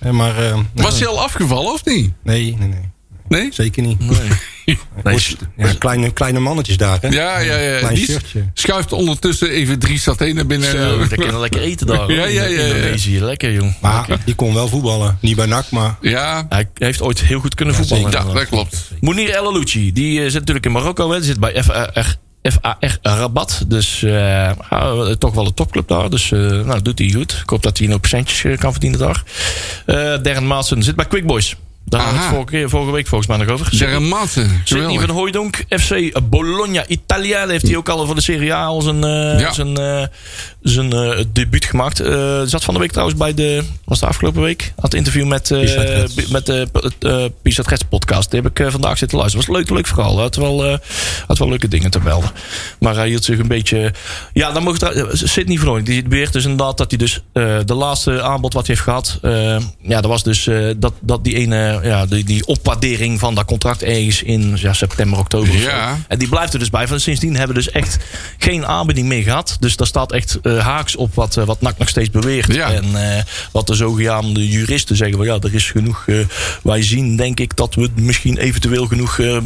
S6: Eh, maar eh,
S5: Was hij al afgevallen of niet?
S6: nee, nee, nee.
S5: Nee?
S6: Zeker niet. <laughs>
S4: Nee,
S6: Moest- ja, kleine, kleine mannetjes daar, hè?
S5: Ja, ja, ja.
S6: Klein
S5: Die
S6: shirtje.
S5: schuift ondertussen even drie saté naar binnen.
S4: Zo,
S5: <laughs>
S4: daar kunnen we lekker eten daar. hoor.
S5: eh, Ja, ja, ja, ja.
S4: Indonesië, lekker jong.
S6: Maar die kon wel voetballen. Niet bij NAC, maar
S5: Ja,
S4: Hij heeft ooit heel goed kunnen voetballen.
S5: ja, dat
S4: inderdaad.
S5: klopt.
S4: Mounir El Alouchi, die eh, zit natuurlijk in Marokko. Hè. Die zit bij FAR, FAR Rabat. Dus eh, ah, toch wel een topclub daar. Dus eh, nou, doet hij goed. Ik hoop dat hij nog procentjes eh, kan verdienen daar. Eh Darren Maassen zit bij Quick Boys. Daar hadden we het
S5: Aha.
S4: vorige, keer- vorige week volgens mij nog over. Zit-
S5: Gerrit Maassen,
S4: Sydney
S5: geweldig.
S4: van Hooijdonk, FC Bologna, Italië. Heeft hij ook al voor de Serie A al zijn, eh,
S5: Ja.
S4: zijn, eh, zijn eh, debuut gemaakt. Eh, zat van de week trouwens bij de... Was de afgelopen week? Had een interview met, eh,
S6: Pisa Gets.
S4: bi- met de eh, eh, Pisa Gets podcast. Die heb ik eh, vandaag zitten luisteren. was een leuk, leuk verhaal. Had wel, eh, had wel leuke dingen te melden. Maar hij hield zich een beetje... Ja, dan mocht er, Sydney van Hooijdonk. Die beweert dus inderdaad dat hij dus... eh, de laatste aanbod wat hij heeft gehad... eh, ja, dat was dus eh, dat, dat die ene ja, die, die opwaardering van dat contract ergens in ja, september, oktober. of zo.
S5: Ja.
S4: En die blijft er dus bij. Van, sindsdien hebben we dus echt geen aanbieding meer gehad. Dus daar staat echt eh, haaks op wat, eh, wat NAC nog steeds beweert.
S5: Ja.
S4: En eh, wat de zogenaamde juristen zeggen. Van, ja, er is genoeg. eh, wij zien denk ik dat we misschien eventueel genoeg eh, eh,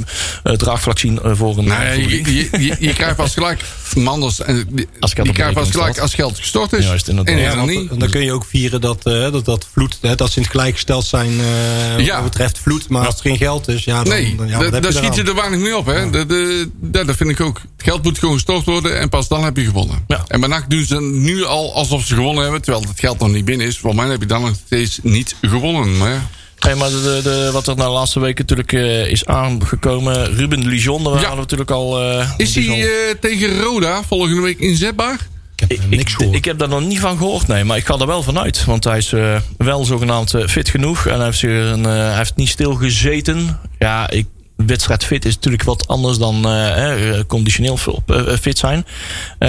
S4: draagvlak zien eh, voor een...
S5: Nou ja,
S4: voor een-
S5: je, je, je, je krijgt pas gelijk mandels en die,
S4: Als geld
S5: die
S4: op
S5: krijgt pas
S4: rekening
S5: gelijk
S4: staat.
S5: als geld gestort is.
S4: Juist, inderdaad.
S5: En is
S4: Ja,
S5: er
S6: want
S5: niet.
S6: dan kun je ook vieren dat eh, dat, dat vloed, hè, dat ze in het gelijk gesteld zijn eh, wat
S5: Ja.
S6: dat betreft vloed. Maar als er geen geld is, ja, dan,
S5: Nee,
S6: dan, ja,
S5: da-
S6: wat heb
S5: daar
S6: je
S5: schiet je
S6: eraan?
S5: er weinig mee op. Hè? Dat, eh, dat, dat vind ik ook. Het geld moet gewoon gestort worden en pas dan heb je gewonnen.
S4: Ja.
S5: En bij NAC doen ze nu al alsof ze gewonnen hebben, terwijl het geld nog niet binnen is. Volgens mij heb je dan nog steeds niet gewonnen. Maar ja.
S4: Hey, maar de, de- de- wat er na de laatste weken natuurlijk eh, is aangekomen. Ruben Lijon, daar hadden we natuurlijk al... eh,
S5: Is hij
S4: die zal-
S5: eh, tegen Roda volgende week inzetbaar?
S6: Ik heb
S4: Ik,
S6: er niks
S4: ik,
S6: gehoord.
S4: ik heb daar nog niet van gehoord, nee. Maar ik ga er wel van uit. Want hij is eh, wel zogenaamd eh, fit genoeg. En hij heeft, zich een, eh, hij heeft niet stilgezeten. Ja, ik, wedstrijd fit is natuurlijk wat anders dan eh, eh, conditioneel fi- op, eh, eh, fit zijn.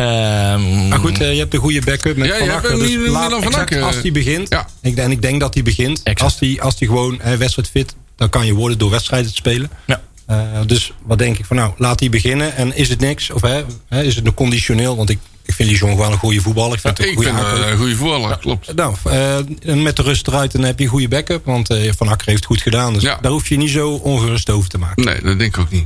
S4: Ehm,
S6: maar goed, eh, je hebt een goede backup met
S5: Ja, je
S6: Van
S5: hebt
S6: Akker,
S5: hem
S6: dus
S5: niet- niet
S6: laat-
S5: dan Van
S6: exact,
S5: Akker.
S6: Als die begint,
S5: Ja.
S6: ik, en ik denk dat die begint.
S4: Exact.
S6: Als die, als die gewoon eh, wedstrijd fit, dan kan je worden door wedstrijden te spelen.
S4: ja.
S6: Eh, dus wat denk ik van nou, laat die beginnen. En is het niks? Of hè, hè, is het nog conditioneel? Want ik, ik vind Lijon gewoon een goede voetballer. Ik vind het
S5: Ik
S6: een goede
S5: vind eh,
S6: aankoop.
S5: een goede voorlag, klopt.
S6: Nou, eh, en met de rust eruit dan heb je een goede backup. Want eh, Van Akker heeft het goed gedaan. Dus
S5: Ja.
S6: daar hoef je niet zo ongerust over te maken.
S5: Nee, dat denk ik ook niet.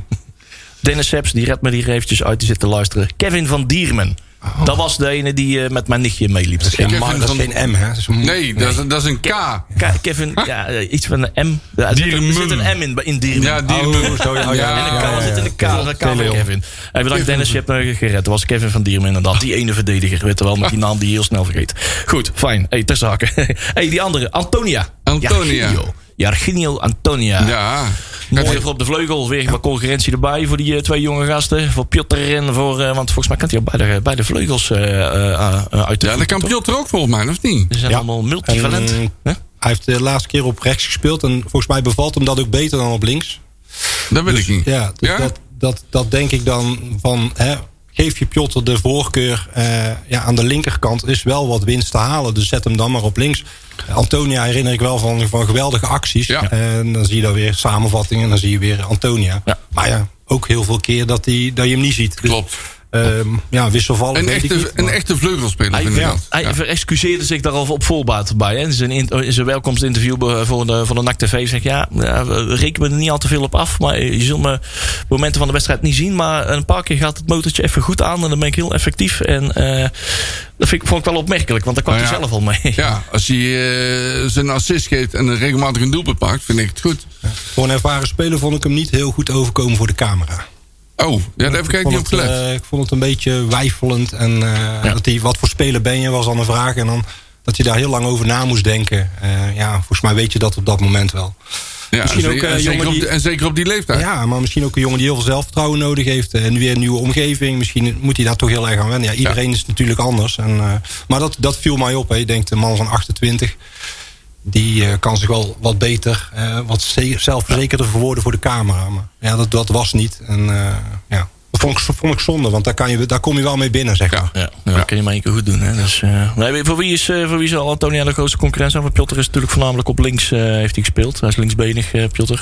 S4: Dennis Seps, die redt me hier eventjes uit. Die zit te luisteren. Kevin van Diermen. Dat was de ene die eh, met mijn nichtje meeliep.
S6: Oh. Dat is
S5: Ik
S6: geen,
S5: heb
S6: ma-
S5: hem
S6: dat is
S5: van-
S6: geen M, hè? Dat is
S5: <laughs>
S6: een-
S5: Nee, dat is, dat is een K. Ja,
S4: Ke- Kevin, ja, eh, iets van een M. Ja, Er zit, er
S5: Diermen.
S4: zit een M in, in Diermen.
S5: die
S6: zo, ja, Oh, ja.
S4: En een K
S6: ja,
S4: zit in de K. Dat K van Kevin. En bedankt Dennis, je hebt me gered. Dat was Kevin van Diermen inderdaad. Die ene verdediger, weet je wel. Met die naam die je heel snel vergeet. Goed, fijn. hey, ter zake. <laughs> hey, die andere. Antonia.
S5: Antonia.
S4: Jarginio. Jarginio Antonia.
S5: Ja.
S4: Mooi even op de vleugel. Weer wat concurrentie erbij voor die eh, twee jonge gasten. Voor Piotr en voor... eh, want volgens mij kent hij op beide, beide vleugels eh, eh, eh, uit de
S5: Ja, dat
S4: voeten,
S5: kan
S4: toch?
S5: Piotr ook volgens mij, of niet?
S4: Ze zijn
S6: Ja.
S4: allemaal multivalent.
S6: En, eh,
S4: hè?
S6: Hij heeft de laatste keer op rechts gespeeld. En volgens mij bevalt hem dat ook beter dan op links.
S5: Dat wil ik niet.
S6: Ja, dus Dat, dat, dat denk ik dan van... Hè, geef je Piotr de voorkeur eh, ja, aan de linkerkant... is wel wat winst te halen, dus zet hem dan maar op links. Eh, Antonia herinner ik wel van, van geweldige acties.
S5: Ja.
S6: En dan zie je daar weer samenvattingen en dan zie je weer Antonia.
S4: Ja.
S6: Maar ja, ook heel veel keer dat, die, dat je hem niet ziet. Dus,
S5: Klopt.
S6: ehm, ja, wisselvallig
S5: Een
S6: weet ik
S5: echte,
S6: niet,
S5: een
S6: maar-
S5: echte vleugelspeler,
S4: Hij,
S5: vind ik dat.
S4: hij
S5: Ja.
S4: verexcuseerde zich daar al op voorbaat bij. Hè? In, zijn in, in zijn welkomstinterview be- eh, voor de, voor de NAC TV zegt... ja, ja, we reken me er niet al te veel op af... maar je zult me momenten van de wedstrijd niet zien... maar een paar keer gaat het motortje even goed aan... en dan ben ik heel effectief. En eh, dat vind ik, vond ik wel opmerkelijk... want daar kwam
S5: Nou
S4: hij
S5: ja.
S4: zelf al mee.
S5: Ja, als hij eh, zijn assist geeft en regelmatig een doelpunt maakt, vind ik het goed.
S6: Voor een ervaren speler vond ik hem niet heel goed overkomen voor de camera.
S5: Oh, ja, daar heb ik
S6: Ik
S5: eigenlijk
S6: vond,
S5: niet op
S6: het,
S5: gelet.
S6: eh, ik vond het een beetje wijfelend. En eh, dat die, wat voor speler ben je, was dan een vraag. En dan dat je daar heel lang over na moest denken. Eh, ja, volgens mij weet je dat op dat moment wel.
S5: Ja,
S6: misschien
S5: en
S6: ook,
S5: zeker-
S6: eh,
S5: en, zeker
S6: jongen
S5: op,
S6: die-
S5: die- en zeker op die leeftijd.
S6: Ja, maar misschien ook een jongen die heel veel zelfvertrouwen nodig heeft. eh, En weer een nieuwe omgeving. Misschien moet hij daar toch heel erg aan wennen. Ja, iedereen is natuurlijk anders. En, eh, maar dat, dat viel mij op. Hè. Je denkt, een man van 28... Die eh, kan zich wel wat beter, eh, wat ze- zelfverzekerder verwoorden voor de camera. Maar ja, dat, dat was niet. En eh, ja, dat vond ik, vond ik zonde, want daar, kan je, daar kom je wel mee binnen, zeg maar.
S5: Ja.
S4: <laughs> Ja, nou, dat kun je maar één keer goed doen. Hè? Dus, eh, nee, voor, wie is, eh, voor wie zal Antonia de grootste concurrent zijn? Want Piotr is natuurlijk voornamelijk op links eh, heeft hij gespeeld. Hij is linksbenig, eh Piotr.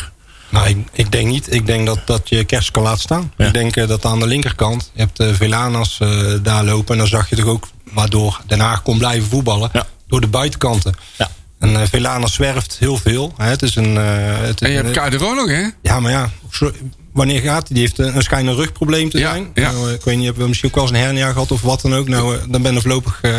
S6: Nou, ik, ik denk niet. Ik denk dat, dat je Kerst kan laten staan.
S4: Ja.
S6: Ik denk eh, dat aan de linkerkant, je hebt eh Velanas eh, daar lopen. En dan zag je toch ook waardoor Den Haag kon blijven voetballen.
S4: Ja.
S6: Door de buitenkanten.
S4: Ja.
S6: En eh Velanas zwerft heel veel. Hè. Het is een, eh, het is
S5: En je hebt
S6: een-
S5: Kader nog, hè?
S6: ja, maar ja, zo- wanneer gaat hij? Die heeft eh, een, een schijnen rugprobleem te
S5: Ja,
S6: zijn.
S5: ja.
S6: Nou, eh, ik weet niet, hebben we misschien ook wel eens een hernia gehad of wat dan ook. Nou, eh, dan ben je voorlopig eh,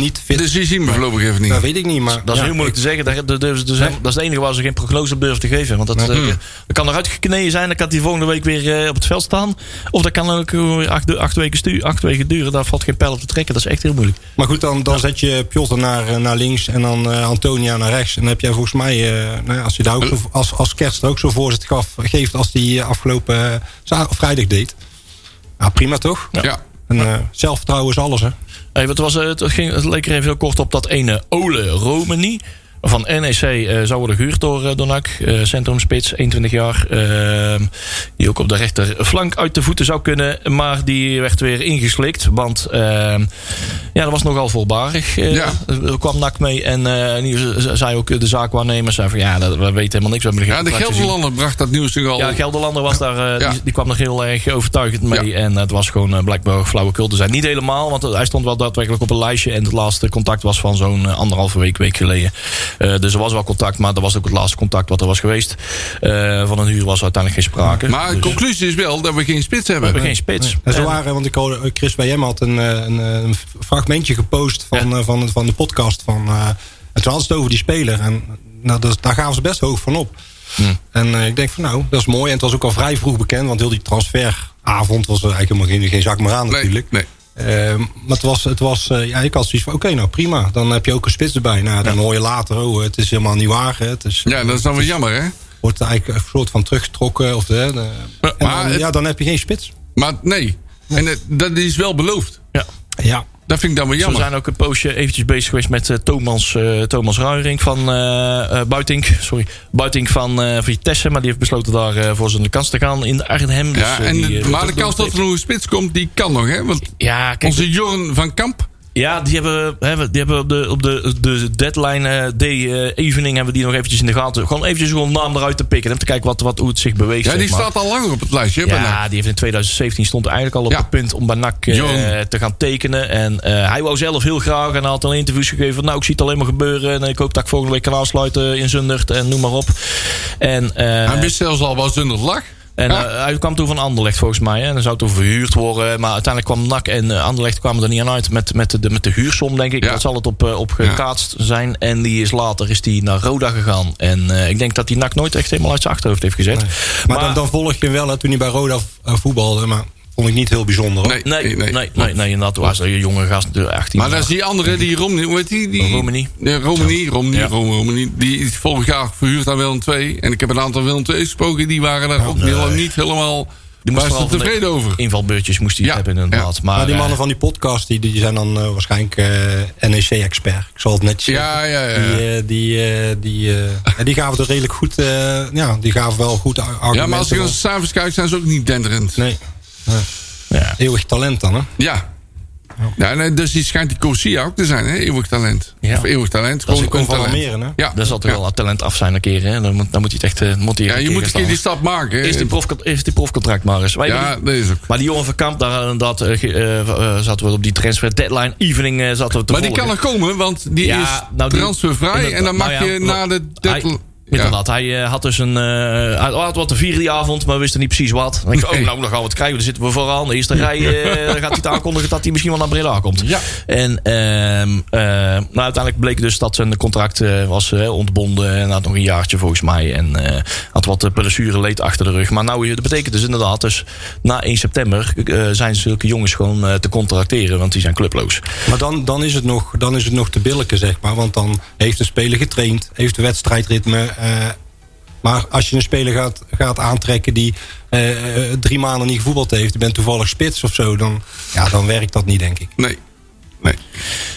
S6: niet fit.
S5: Dus die zien we voorlopig even niet.
S6: dat weet ik niet, maar...
S4: Dat is
S6: ja,
S4: heel moeilijk te zeggen. Daar, daar durven ze dus helemaal- dat is het enige waar ze geen prognose op durven te geven. Want dat, eh,
S6: Mm.
S4: dat kan eruit gekneden zijn. Dan kan die volgende week weer eh, op het veld staan. Of dat kan ook gewoon weer acht, du- acht weken stu- acht weken duren. Daar valt geen pijl op te trekken. Dat is echt heel moeilijk.
S6: Maar goed, dan, dan zet je Piotr naar, eh, naar links en dan eh, Antonia naar rechts. En dan heb jij volgens mij, eh, nou ja, als, je daar ook zo, als, als Kerst er ook zo'n voorzet gaf, geeft als die eh, afgelopen eh, za- vrijdag deed. Nou, prima toch?
S5: Ja.
S6: En, eh, zelfvertrouwen is alles, hè?
S4: Hey, wat was, eh, het, het ging, het leek er even heel kort op dat ene Ole Romani. Van NEC eh, zou worden gehuurd door, eh, door NAC. Eh, centrumspits, 21 jaar. eh, die ook op de rechterflank uit de voeten zou kunnen. Maar die werd weer ingeslikt. Want eh, ja, dat was nogal voorbarig. eh,
S5: Ja.
S4: Er kwam NAC mee. En eh, die ze- zei ook eh, de zaakwaarnemer. Zei van ja, dat, we weten helemaal niks. We hebben
S5: Ja, de
S4: contract gezien.
S5: Gelderlander bracht dat nieuws natuurlijk al.
S4: Ja, Gelderlander was daar, eh,
S5: Oh. Ja.
S4: die, die kwam nog heel erg overtuigend mee.
S5: Ja.
S4: En het was gewoon eh, blijkbaar flauwekul te zijn. Niet helemaal, want hij stond wel daadwerkelijk op een lijstje. En het laatste contact was van zo'n eh, anderhalve week, week geleden. Eh, dus er was wel contact, maar dat was ook het laatste contact wat er was geweest. Eh, van een huur was uiteindelijk geen sprake.
S5: maar de
S4: dus we
S5: conclusie is wel dat we geen spits hebben.
S4: hebben geen spits.
S6: En zo
S4: En-
S6: waren, want ik hoorde eh, Chris bij hem had een, eh, een, eh, een fragmentje gepost van, eh, van, van de podcast. Van, eh, en toen hadden ze het over die speler. En nou, dat, daar gaven ze best hoog van op. En eh, ik denk van nou, dat is mooi. En het was ook al vrij vroeg bekend. Want heel die transferavond was er eigenlijk helemaal geen, geen zak meer aan
S5: Nee,
S6: natuurlijk.
S5: nee.
S6: Ehm, maar het was, het was eh, ja, ik had zoiets van, oké, nou prima. Dan heb je ook een spits erbij. Nou, dan hoor je later, oh, het is helemaal niet waar. Hè. Het is,
S5: Ja, dat is dan weer
S4: Dus-
S5: jammer, hè?
S6: wordt eigenlijk een soort van teruggetrokken. Of, hè, de- en
S5: maar
S6: dan,
S5: het-
S6: ja, dan heb je geen spits.
S5: Maar nee. En het- dat is wel beloofd.
S4: Ja.
S6: Ja,
S5: Dat vind ik dan wel
S4: Dus
S5: jammer.
S4: we zijn ook een poosje eventjes bezig geweest met eh, Thomas, eh Thomas Ruiring van eh, eh, Buitink. Sorry, Buitink van eh, Vitesse. Maar die heeft besloten daar eh, voor zijn kans te gaan in Arnhem. Dus,
S5: ja,
S4: eh,
S5: en,
S4: die, eh, wordt
S5: maar
S4: ook
S5: de
S4: nog
S5: kans dat er
S4: steeds-
S5: nog een spits komt, die kan nog, hè? Want
S4: Ja, kijk,
S5: onze Jorn van Kamp.
S4: Ja, die hebben, hè, we- die hebben op de, op de, de deadline eh day eh, evening hebben we die nog eventjes in de gaten. Gewoon eventjes gewoon een naam eruit te pikken. Om te kijken wat, wat, hoe het zich beweegt.
S5: Ja,
S4: zeg
S5: die
S4: maar.
S5: staat al langer op het lijstje. hè, bijna.
S4: Ja, die heeft in 2017 stond eigenlijk al op
S5: Ja.
S4: het punt om bij NAC eh,
S5: Jong.
S4: te gaan tekenen. En eh, hij wou zelf heel graag en hij had al interviews gegeven. van, Nou, ik zie het alleen maar gebeuren. En ik hoop dat ik volgende week kan aansluiten in Zundert en noem maar op. En, eh,
S5: Hij wist zelfs al waar Zundert lag.
S4: en
S5: Ja.
S4: eh, hij kwam toen van Anderlecht volgens mij. Hè. En dan zou toen verhuurd worden. Maar uiteindelijk kwam NAC en eh, Anderlecht kwamen er niet aan uit met, met, de, met de huursom, denk ik.
S5: Ja.
S4: Dat zal het op, eh, op gekaatst zijn. En die is later is die naar Roda gegaan. En eh, ik denk dat die NAC nooit echt helemaal uit zijn achterhoofd heeft gezet.
S6: Maar, dan, dan volg je hem wel, hè, toen hij bij Roda eh, voetbalde. Maar vond ik niet heel bijzonder. Hoor.
S5: Nee,
S4: Nee, nee, nee, nee, nee, inderdaad. Was een jonge gast, de 18
S5: Maar
S4: jaar.
S5: dat is die andere, die Romney, hoe heet die? die
S4: Romani.
S5: Ja, Romani, Romani,
S4: Ja.
S5: Rom- Romani. Die is vorig jaar verhuurd aan Willem II. En ik heb een aantal Willem II gesproken, die waren daar ook heel- niet helemaal
S4: Die moest
S5: waar ze
S4: vooral van de
S5: tevreden over.
S4: Invalbeurtjes moest hij
S5: Ja,
S4: hebben inderdaad. Maar,
S5: Ah,
S6: Maar die
S4: eh,
S6: mannen van die podcast, die, die zijn dan eh, waarschijnlijk NEC-expert. Ik zal het netjes zeggen.
S5: Ja, ja, ja.
S6: Die, eh, die, eh, die, eh, en die gaven er redelijk goed, eh, ja, die gaven wel goed ar- argumenten.
S5: ja, maar als ik dan
S6: van.
S5: s'avonds kijk, zijn ze ook niet denderend.
S6: Nee. Nee.
S4: Ja.
S6: Eeuwig talent dan, hè?
S5: Ja.
S4: Oh.
S5: ja nee, dus die schijnt die Corsia ook te zijn, hè? Eeuwig talent.
S4: Ja.
S5: Of eeuwig talent.
S6: is
S5: Gewoon
S6: ook
S5: een
S6: van
S5: talent.
S6: Almere, hè?
S5: Ja.
S4: daar zal toch
S5: ja.
S4: wel talent af zijn een keer. Hè? Dan, moet, dan moet hij het echt... eh, moet hij
S5: Ja,
S4: echt
S5: je moet een keer die stap maken. hè.
S4: Eerst die, prof, eerst die profcontract maar eens. Wij
S5: Ja, dat is ook.
S4: Maar die jongen van Kamp, daar inderdaad, eh, ge- eh, eh, zaten we op die transfer deadline evening eh, zaten we te
S5: Maar die kan
S4: volgen.
S5: er komen, want die
S4: Ja,
S5: is
S4: nou, die-
S5: transfervrij. En
S4: inderdaad,
S5: dan mag
S4: nou ja,
S5: je
S4: wat-
S5: na de deadline...
S4: Hij, Inderdaad, hij eh, had dus een. eh, hij had wat te vieren die avond, maar wist er niet precies wat. Dan denk ik,
S5: Nee.
S4: oh, nou, dan gaan we het krijgen. Dan zitten we vooraan. De eerste rij. eh, dan gaat hij het aankondigen dat hij misschien wel naar Breda komt.
S5: Ja.
S4: En ehm, eh, nou, uiteindelijk bleek dus dat zijn contract eh, was eh, ontbonden. En had nog een jaartje volgens mij. En eh, had wat eh, blessure leed achter de rug. Maar nou, eh, dat betekent dus inderdaad. Dus na 1 september eh, zijn zulke jongens gewoon eh, te contracteren. Want die zijn clubloos.
S6: Maar dan, dan, is het nog, dan is het nog te billijken, zeg maar. Want dan heeft een speler getraind, heeft de wedstrijdritme. eh, maar als je een speler gaat, gaat aantrekken die eh, eh, drie maanden niet gevoetbald heeft... je bent toevallig spits of zo, dan, ja, dan werkt dat niet, denk ik.
S5: Nee. Nee.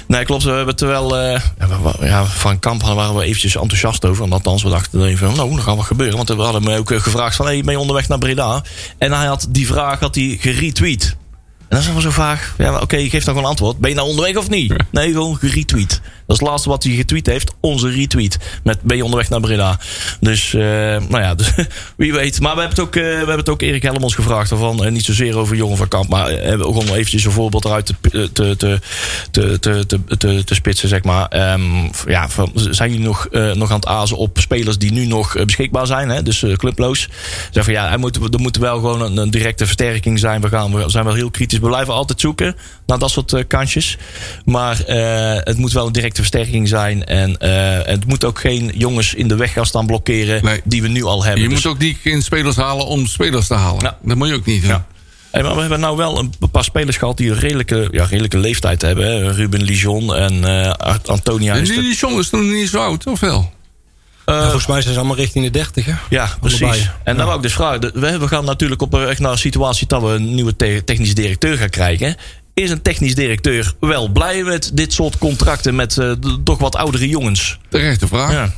S4: Nee, klopt. We hebben terwijl eh, ja, we- we- ja, van Kamp waren we eventjes enthousiast over. Want althans, we dachten even, nou, er gaat wat gebeuren. Want we hadden hem ook eh, gevraagd van, hey, ben je onderweg naar Breda? En hij had die vraag had hij geretweet. En dat is wel zo vaag. Ja, maar oké, geef dan gewoon antwoord. Ben je nou onderweg of niet? Nee, gewoon geretweet. Dat is het laatste wat hij getweet heeft. Onze retweet. Met ben je onderweg naar Breda. Dus, eh, nou ja, <laughs> dus, wie weet. Maar we hebben het ook, eh, we hebben het ook Erik Helmons gevraagd. Ervan. En niet zozeer over Jongen van Kamp. Maar eh, hebben we ook om eventjes een voorbeeld eruit te, te, te, te, te, te, te, te, te spitsen, zeg maar. Ehm, ja, van, zijn jullie nog, eh, nog aan het azen op spelers die nu nog eh, beschikbaar zijn? Hè? Dus eh, clubloos. Zeg van ja, er moet, er moet wel gewoon een, een directe versterking zijn. We, gaan, we zijn wel heel kritisch. We blijven altijd zoeken naar dat soort eh, kansjes. Maar eh, het moet wel een directe versterking zijn. En eh, het moet ook geen jongens in de weg gaan staan blokkeren
S5: Nee.
S4: die we nu al hebben.
S5: Je
S4: Dus-
S5: moet ook niet geen spelers halen om spelers te halen.
S4: Ja.
S5: Dat moet je ook niet doen.
S4: Hey, maar we hebben nou wel een paar spelers gehad die een redelijke, ja, redelijke leeftijd hebben. hè. Ruben Lijon en eh, Art- Antonia.
S5: En
S4: is Eh,
S5: die
S4: de-
S5: die jongen is nog niet zo oud, of wel?
S6: En volgens mij zijn ze allemaal richting de 30, hè?
S4: Ja,
S6: Allebei.
S4: precies. En dan wou ik dus vragen. de- We we gaan natuurlijk op eh, echt naar een situatie dat we een nieuwe te- technisch directeur gaan krijgen. is een technisch directeur wel blij met dit soort contracten met eh, d- toch wat oudere jongens?
S5: Terechte vraag.
S4: Ja.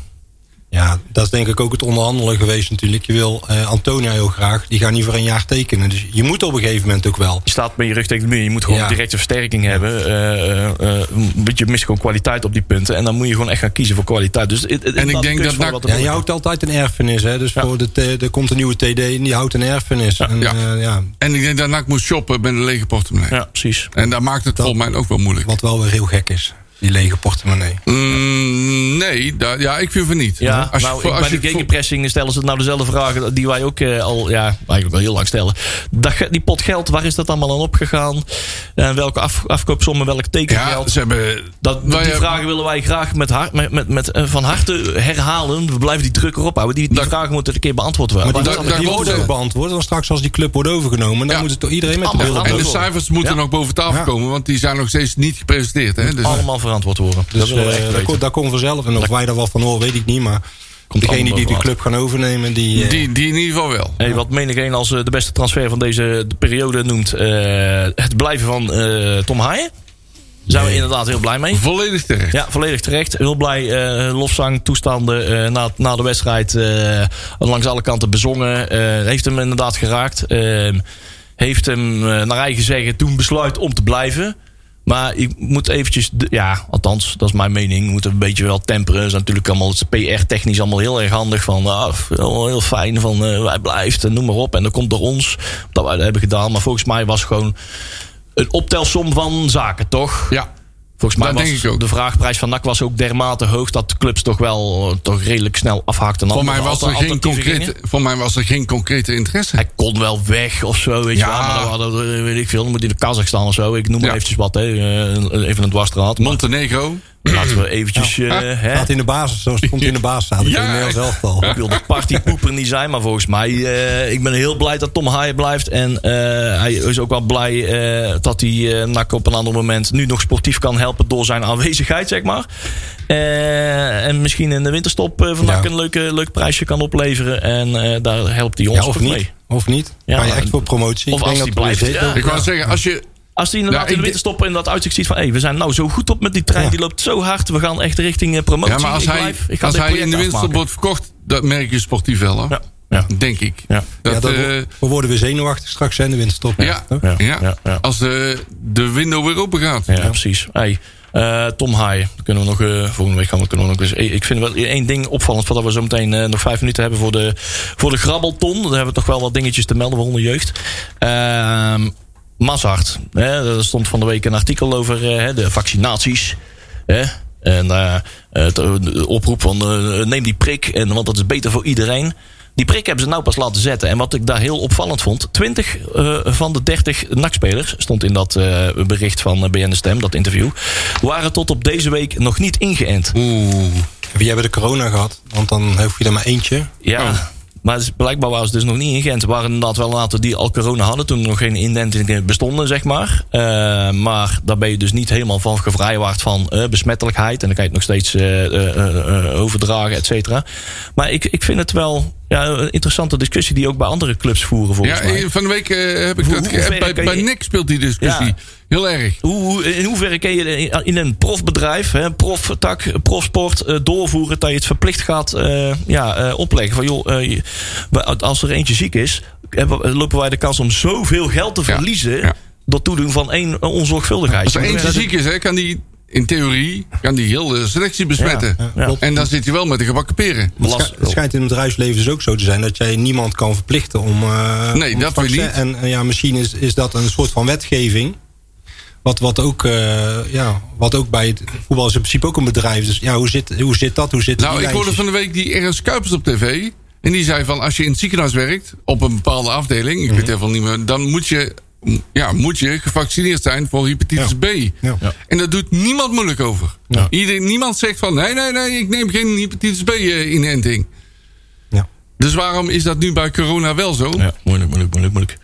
S6: Ja, dat is denk ik ook het onderhandelen geweest natuurlijk. Je wil eh, Antonia heel graag, die gaat niet voor een jaar tekenen. Dus je moet op een gegeven moment ook wel.
S4: Je staat met je rug tegen de muur. Je moet gewoon
S6: Ja.
S4: directe versterking hebben. Eh, eh, eh, want je mist gewoon kwaliteit op die punten. En dan moet je gewoon echt gaan kiezen voor kwaliteit. Dus het- het is
S5: ik
S4: wel een
S5: denk
S4: kunst
S5: dat
S4: van
S5: NAC-
S4: wat er
S6: Ja, je
S4: wordt.
S6: houdt altijd een erfenis. Hè? Dus voor de, t- er komt een nieuwe TD en die houdt een erfenis. En,
S5: ja.
S6: eh, ja,
S5: En ik denk dat NAC moet shoppen met een lege portemonnee.
S4: Ja, precies.
S5: En dat maakt het volgens mij ook wel moeilijk.
S6: wat wel weer heel gek is, die lege portemonnee.
S5: Mm, nee, da- ja, ik vind van niet.
S4: Ja,
S5: Als je
S4: nou,
S5: voor-
S4: ik-
S5: als
S4: bij
S5: je
S4: de
S5: voor-
S4: gegenpressing stellen ze nou dezelfde vragen die wij ook eh, al, ja, eigenlijk wel heel lang stellen. Dat, ge- die pot geld, waar is dat allemaal aan opgegaan? En welke af, afkoopsommen, welk
S5: Ja, nou
S4: tekengeld?
S5: ze hebben...
S4: dat,
S5: wij-
S4: die vragen willen wij graag met, hart- met, met, met, eh, van harte herhalen. We blijven die druk erop houden. Die, die
S5: Dat-
S4: vragen moeten een keer beantwoord worden.
S6: Maar die,
S5: daar-
S6: die,
S5: daar
S6: die
S5: komt
S6: wordt
S5: het.
S6: ook beantwoord. Want straks als die club wordt overgenomen... dan
S5: Ja.
S6: moet het door iedereen met de
S4: Allemaal
S6: bril op.
S5: En de
S4: Antwoord.
S5: cijfers moeten
S4: Ja.
S5: nog boven tafel
S6: Ja.
S5: komen, want die zijn nog steeds niet gepresenteerd. Hè? Dus,
S4: allemaal verantwoord worden.
S6: Dus
S4: dat willen we
S6: eh,
S4: echt
S6: daar,
S4: weten.
S6: komt, daar komt vanzelf. En of wij daar wat van horen, weet ik niet. Maar degene
S4: allemaal
S6: die
S4: wel
S6: de
S4: wat.
S6: club gaan overnemen... die, eh,
S5: die, die in ieder geval wel.
S4: Hey, wat menig een als eh, de beste transfer van deze periode noemt. eh, het blijven van eh, Tom Haaien. Zijn we inderdaad heel blij mee.
S5: Volledig terecht.
S4: Ja, volledig terecht. Heel blij. eh, lofzang, toestanden eh, na, na de wedstrijd. eh, langs alle kanten bezongen. Eh, heeft hem inderdaad geraakt. Eh, heeft hem eh, naar eigen zeggen toen besluit om te blijven. Maar ik moet eventjes... de- ja, althans, dat is mijn mening. Moet een beetje wel temperen. Dat is natuurlijk allemaal het is PR-technisch allemaal heel erg handig. Van, ah, heel, heel fijn van eh, wij blijft en noem maar op. En dat komt door ons. Dat wij dat hebben gedaan. Maar volgens mij was gewoon een optelsom van zaken, toch?
S5: Ja.
S4: Volgens mij
S5: Dat denk
S4: was
S5: ik ook.
S4: de vraagprijs van NAC was ook dermate hoog dat de clubs toch wel eh, toch redelijk snel afhaakten.
S5: Voor mij,
S4: Andere
S5: was er
S4: alter-
S5: geen
S4: alternatieven
S5: concrete,
S4: gingen.
S5: voor mij was er geen concrete interesse.
S4: Hij kon wel weg of zo, weet
S5: Ja.
S4: je wel. Maar dan hadden we, eh, weet ik veel, dan moet hij naar Kazachstan of zo. Ik noem maar
S5: Ja.
S4: eventjes wat, hè. Eh, even een dwarsstraat. Maar
S5: Montenegro.
S4: laten we eventjes... eh, hè.
S6: staat in de basis, zoals het komt in de basis staan. Dat
S5: Ja.
S6: kun je heel zelf al.
S4: Ik wil de partypoeper niet zijn, maar volgens mij... eh, ik ben heel blij dat Tom Haaien blijft. En eh, hij is ook wel blij eh, dat hij eh, NAC op een ander moment... nu nog sportief kan helpen door zijn aanwezigheid, zeg maar. Eh, en misschien in de winterstop eh van NAC
S6: Ja.
S4: een leuke, leuk prijsje kan opleveren. En eh, daar helpt hij ons
S6: Ja, of
S4: ook mee.
S6: niet. Of niet.
S4: Ja,
S6: Ga je
S4: maar-
S6: echt voor promotie.
S4: of
S6: Ik
S4: als
S6: denk
S4: die
S6: dat we
S4: blijft,
S6: zeker-
S4: ja.
S5: Ik wou zeggen, als je...
S4: Als hij inderdaad
S5: Ja, ik
S4: in de
S5: denk-
S4: winterstop in dat uitzicht ziet van... hé, we zijn nou zo goed op met die trein,
S6: Ja.
S4: die loopt zo hard. We gaan echt richting eh, promotie.
S5: Ja, maar als
S4: Ik
S5: hij,
S4: blijf. Ik ga
S5: als
S4: dit
S5: hij in de
S4: project
S5: winterstop
S4: afmaken.
S5: wordt verkocht, dat merk je sportief wel. Hoor.
S4: Ja, ja,
S5: Denk ik.
S4: ja.
S5: Dat,
S6: Ja, dat
S5: eh,
S6: wo- we worden weer zenuwachtig straks hè, in de winterstop.
S5: ja,
S6: Toch?
S5: ja,
S4: Ja, ja, ja.
S5: Als de, de window weer open gaat.
S4: Ja, precies. Hey, eh, Tom Haaien. Dan Kunnen we nog, eh, volgende week gaan we, kunnen we nog eens. eh, Ik vind wel één ding opvallend. Voordat we zo meteen eh, nog vijf minuten hebben voor de, voor de grabbelton. Dan hebben we toch wel wat dingetjes te melden, waaronder jeugd. Ehm Mazart. Hè, er stond van de week een artikel over eh, hè, de vaccinaties. Hè? En eh, het, eh, de oproep van eh, neem die prik, en, want dat is beter voor iedereen. Die prik hebben ze nou pas laten zetten. En wat ik daar heel opvallend vond... 20 eh, van de 30 NAC-spelers, stond in dat eh, bericht van eh, BN De Stem, dat interview... waren tot op deze week nog niet ingeënt.
S5: Oeh.
S6: Wie hebben de corona gehad? Want dan hoef je er maar eentje.
S4: Ja,
S5: Oh.
S4: maar het is- blijkbaar waren ze dus nog niet ingeënt. Er waren inderdaad wel een aantal die al corona hadden... toen er nog geen inentingen bestonden, zeg maar. Eh, maar daar ben je dus niet helemaal van gevrijwaard van eh, besmettelijkheid. En dan kan je het nog steeds eh, eh, eh, eh, overdragen, et cetera. Maar ik, ik vind het wel ja, een interessante discussie... die ook bij andere clubs voeren, volgens
S5: Ja,
S4: mij.
S5: eh, van de week eh, heb ik
S4: Hoe-
S5: dat
S4: hoe ver
S5: geappt. Bij,
S4: kan
S5: bij
S4: je-
S5: Nick speelt die discussie.
S4: Ja.
S5: Heel erg.
S4: Hoe- Hoe, in hoeverre kun je in een profbedrijf, hè, proftak, profsport, eh, doorvoeren dat je het verplicht gaat eh, ja, eh, opleggen? Van joh, eh, je- we- als er eentje ziek is, hebben, lopen wij de kans om zoveel geld te
S5: Ja,
S4: verliezen.
S5: ja.
S4: door toedoen van één onzorgvuldigheid.
S5: Als er
S4: Je moet
S5: eentje
S4: wel-
S5: ziek is, hè, kan die in theorie kan die heel de selectie besmetten.
S4: Ja, ja.
S5: En dan zit hij wel met de gebakken peren.
S6: Het,
S4: Last-
S6: schij- het schijnt in het bedrijfsleven dus ook zo te zijn dat jij niemand kan verplichten om. eh,
S5: Nee,
S6: om
S5: dat
S6: vaccin-
S5: weer niet.
S6: En eh, ja, misschien is, is dat een soort van wetgeving. Wat, wat, ook, eh, ja, wat ook bij het voetbal is in principe ook een bedrijf. Dus ja, hoe zit, hoe zit dat? Hoe zit
S5: Nou,
S6: die
S5: ik hoorde
S6: lijntjes?
S5: van de week die Ernst Kuipers op tv. En die zei van, als je in het ziekenhuis werkt, op een bepaalde afdeling, ik weet
S6: Mhm.
S5: even niet meer, dan moet je, ja, moet je gevaccineerd zijn voor hepatitis
S6: Ja.
S5: B.
S6: Ja. Ja.
S5: En daar doet niemand moeilijk over. Ieder, niemand zegt van, nee, nee, nee, ik neem geen hepatitis B eh, inenting.
S6: Ja.
S5: Dus waarom is dat nu bij corona wel zo?
S4: Ja, moeilijk, moeilijk, moeilijk, moeilijk.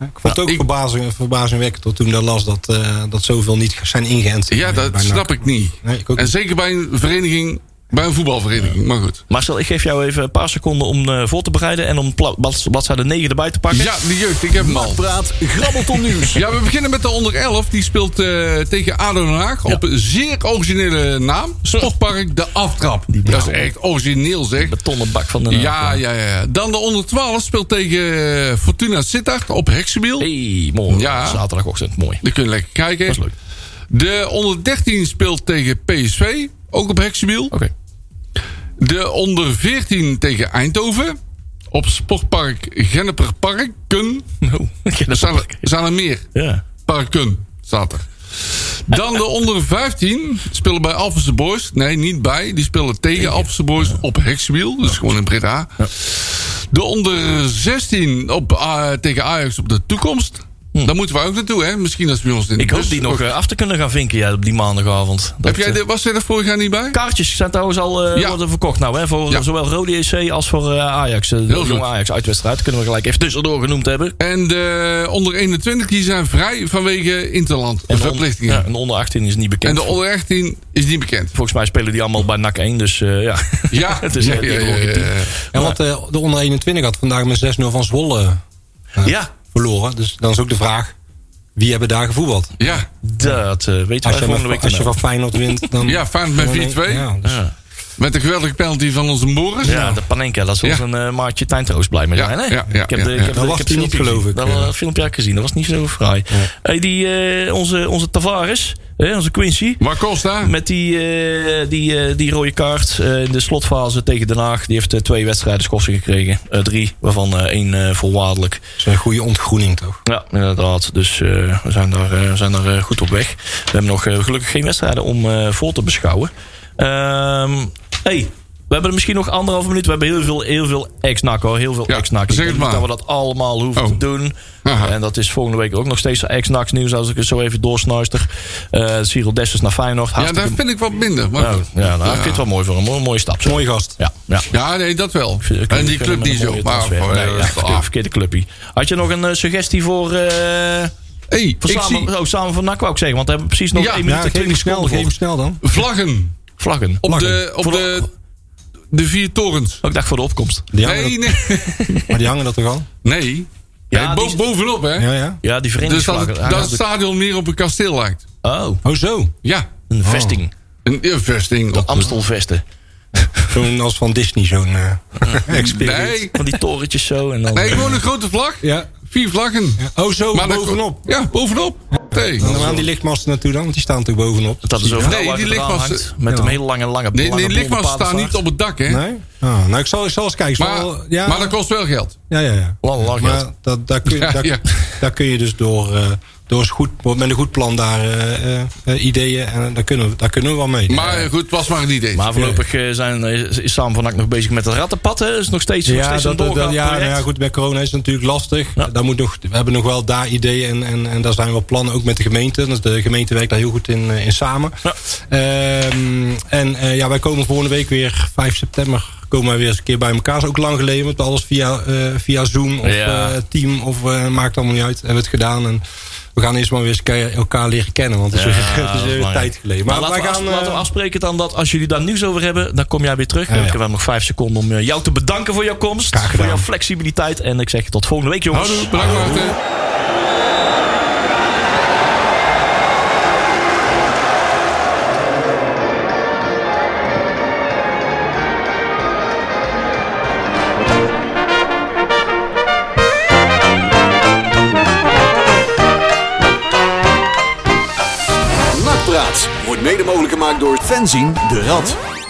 S6: Ik vond het ook
S5: ik-
S6: verbazing, verbazingwekkend tot toen dat las dat, eh, dat zoveel niet zijn ingeënt.
S5: Ja,
S6: eh,
S5: dat
S6: bij NAC.
S5: snap ik niet.
S6: Nee, ik ook
S5: en
S6: niet.
S5: zeker bij een vereniging Bij een voetbalvereniging, maar goed.
S4: Marcel, ik geef jou even een paar seconden om eh, voor te bereiden en om pla- blad- bladzijde 9 erbij te pakken.
S5: Ja, de jeugd, ik heb hem al.
S3: Praat Grabbelton Nieuws.
S5: Ja, we beginnen met de onder 11. Die speelt eh, tegen ADO Den Haag op een zeer originele naam. Sportpark De Aftrap. Dat is echt origineel zeg.
S4: Betonnen bak van <laughs> de
S5: Ja, ja, ja. Dan de onder 12 speelt tegen eh, Fortuna Sittard op Heksenbiel.
S4: Hey, mooi.
S5: Ja.
S4: Zaterdagochtend, mooi.
S5: Die kunnen lekker kijken.
S4: Dat is leuk.
S5: De onder 13 speelt tegen PSV, ook op Heksenbiel.
S4: Oké.
S5: De onder 14 tegen Eindhoven op Sportpark Genneperparken.
S4: Nou,
S5: <laughs>
S4: ik ken
S5: Er
S4: dat
S5: zijn er,
S4: ook.
S5: zijn er meer.
S4: Ja.
S5: Parken staat er. Dan de onder 15 spelen bij Alphense Boys. Nee, niet bij. Die spelen tegen Alphense Boys op Hexwiel. Dus gewoon in Breda. De onder 16 op, eh, tegen Ajax op de toekomst. Daar moeten we ook naartoe, hè? Misschien als bij ons in de
S4: Hm. Ik hoop
S5: bus
S4: die nog
S5: Dus ook-
S4: eh, af te kunnen gaan vinken ja, op die maandagavond. Dat,
S5: Heb jij
S4: eh,
S5: de, was jij er vorig jaar niet bij?
S4: Kaartjes zijn trouwens al eh,
S5: Ja.
S4: worden verkocht nou, hè, voor
S5: Ja.
S4: zowel Rode EC als voor eh, Ajax. eh, de
S5: Heel
S4: jonge
S5: goed.
S4: Ajax uitwedstrijd. Kunnen we gelijk even tussendoor genoemd hebben.
S5: En de onder 21 die zijn vrij vanwege interland.
S4: de on-
S5: verplichtingen.
S4: Ja, en de onder 18 is niet bekend.
S5: En de onder 18 is niet
S4: <laughs>
S5: bekend.
S4: Volgens mij spelen die allemaal bij NAC 1, dus eh, ja.
S5: Ja,
S4: <laughs> het is
S5: ja,
S4: eh,
S5: ja,
S4: die hebben we
S5: ja,
S4: ook een team.
S5: ja, ja.
S6: En wat eh, de onder 21 had vandaag met 6-0 van Zwolle eh,
S4: Ja.
S6: verloren. Dus dan is ook de vraag, wie hebben daar gevoetbald?
S5: Ja,
S4: Dat eh, weten
S6: Als
S4: wij
S6: je,
S4: volgende
S6: van,
S4: week.
S6: als je
S4: dan wel.
S6: van Feyenoord
S5: <laughs>
S6: wint, dan...
S5: Ja, Feyenoord met
S6: dan-
S5: 4-2.
S6: Ja, dus-
S4: ja.
S5: met de geweldige penalty van onze Morris.
S4: Ja, de Panenka, dat is ons
S5: Ja.
S4: een eh, maatje Tijn Troost blij mee
S5: Ja,
S4: zijn. Hè?
S5: ja, ja,
S4: ik heb
S5: ja,
S4: de, ik
S5: ja.
S4: heb
S6: Dat
S4: de- ik
S6: was
S4: heb
S6: die
S4: het
S6: niet,
S4: filmpje
S6: geloof
S4: gezien.
S6: ik.
S4: Dat eh, filmpje heb ik gezien, dat was niet zo fraai. Hey, die, eh, onze, onze Tavares, hè, onze Quincy,
S5: Maar Costa,
S4: met die, eh, die, eh, die rode kaart eh, in de slotfase tegen Den Haag. Die heeft eh, twee wedstrijden schorsing gekregen. Eh, drie, waarvan eh, één eh, voorwaardelijk.
S6: dat is een goede ontgroening toch?
S4: Ja, inderdaad. Dus eh, we zijn daar, eh, we zijn daar eh, goed op weg. We hebben nog eh, gelukkig geen wedstrijden om eh, voor te beschouwen. Ehm hey, we hebben er misschien nog anderhalve minuut. We hebben heel veel, heel veel ex-nak hoor. Heel veel
S5: Ja,
S4: ex-nak. Ik
S5: zeg
S4: denk
S5: het
S4: niet
S5: maar.
S4: dat we dat allemaal hoeven
S5: Oh.
S4: te doen.
S5: Aha.
S4: En dat is volgende week ook nog steeds ex-naks nieuws. Als ik het zo even doorsnuister. Eh Cyril Dessers naar Feyenoord.
S5: ja, daar
S4: Hartstikke...
S5: vind ik wat minder. Maar
S4: Nou,
S5: goed.
S4: ja, nou, ik vind het wel mooi voor hem. hoor. Een mooie stap.
S6: Mooi gast.
S4: Ja, ja.
S5: Ja, nee, dat wel.
S4: Ik vind- ik
S5: en
S4: vind-
S5: die
S4: ik vind
S5: club
S4: hem
S5: die
S4: een
S5: zo.
S4: mooie
S5: Maar, eh,
S4: transfer.
S5: voor,
S4: Nee, ja, verkeerde- verkeerde clubje. Had je nog een eh, suggestie voor... eh,
S5: hey, ik
S4: Voor samen,
S5: zie
S4: oh, samen van NAC wou ik zeggen, want we hebben precies nog
S5: Ja.
S4: 1 minuut
S6: Ja,
S4: en
S6: geef
S4: 20
S6: hem
S4: seconden
S6: snel, geef hem
S4: voor
S6: snel dan.
S5: vlaggen
S4: vlaggen.
S5: op,
S6: Vlaggen.
S5: de, op
S4: Voor-
S5: de, de vier torens.
S4: Oh, ik dacht voor de opkomst.
S6: Die hangen
S5: Nee,
S6: dat-
S5: nee. <laughs>
S6: Maar die hangen dat toch al?
S5: Nee,
S4: Ja,
S5: Nee, bo-
S4: die-
S5: bovenop, hè.
S6: Ja, ja.
S4: Ja, die
S5: Dus dat,
S4: verenigingsvlaggen.
S5: het, dat het stadion meer op een kasteel lijkt.
S4: oh,
S6: Oh zo.
S5: Ja,
S6: Oh.
S4: een
S5: Oh,
S4: vesting.
S5: een investing.
S4: De Amstelvesten.
S6: Zo'n als van Disney, zo'n
S5: <laughs>
S6: eh, experience.
S5: Nee,
S4: Van die torentjes zo. En dan,
S5: nee, gewoon een grote vlag.
S6: Ja.
S5: Vier vlaggen.
S6: Oh zo,
S5: Maar dat-
S6: bovenop.
S5: Ja, bovenop. Nee,
S6: Dan gaan die lichtmasten naartoe dan, want die staan natuurlijk bovenop.
S4: dat is over
S5: Nee, die lichtmasten-
S4: Met
S6: Ja.
S4: een hele lange, lange
S5: nee,
S4: lange
S5: die lichtmasten
S4: blonde
S5: staan niet
S4: padenstaart.
S5: op het dak, hè.
S6: Nee? Ah, nou, ik zal, ik zal eens kijken. Ik
S5: Maar,
S6: zal- ja,
S5: maar dat kost wel geld.
S6: ja, ja, ja.
S4: Lang, lang geld.
S6: Maar dat, daar, kun je,
S5: Ja,
S6: daar,
S5: ja.
S6: daar kun je dus door, eh, door eens goed, met een goed plan daar eh, eh, eh, ideeën en daar kunnen, we- daar kunnen we wel mee.
S5: Maar eh, goed, het was maar een idee.
S4: Maar voorlopig eh, zijn, is, is Samen van NAC nog bezig met het rattenpad. hè. is nog steeds, nog
S6: ja,
S4: steeds
S6: dat,
S4: een
S6: dat,
S4: doorgaand
S6: ja, nou ja,
S4: project.
S6: goed, bij corona is het natuurlijk lastig.
S4: Ja.
S6: Daar moet nog, we hebben nog wel daar ideeën en, en, en daar zijn wel plannen, ook met de gemeente. Dus de gemeente werkt daar heel goed in, eh, in samen.
S4: Ja.
S6: Ehm, en eh, ja, wij komen volgende week weer, 5 september, komen wij weer eens een keer bij elkaar. Dat is ook lang geleden, want alles via, eh, via Zoom of
S4: Ja.
S6: eh, Team of eh, maakt allemaal niet uit. Hebben we het gedaan en we gaan eerst maar weer eens ke- elkaar leren kennen, want het is
S4: Ja,
S6: weer- <laughs> het
S4: dat is
S6: is weer een
S4: belangrijk.
S6: tijd geleden.
S4: Maar, laten,
S6: wij
S4: we af-
S6: eh,
S4: laten we afspreken dan dat als jullie daar nieuws over hebben, dan kom jij weer terug.
S6: ja.
S4: Ik heb wel nog vijf seconden om eh, jou te bedanken voor jouw komst.
S6: Graag
S4: Voor
S6: gedaan.
S4: jouw flexibiliteit. En ik zeg tot volgende week, jongens.
S5: Houdoe, bedankt Maarten.
S3: Nakpraat wordt mede mogelijk gemaakt door fanzine de Rad.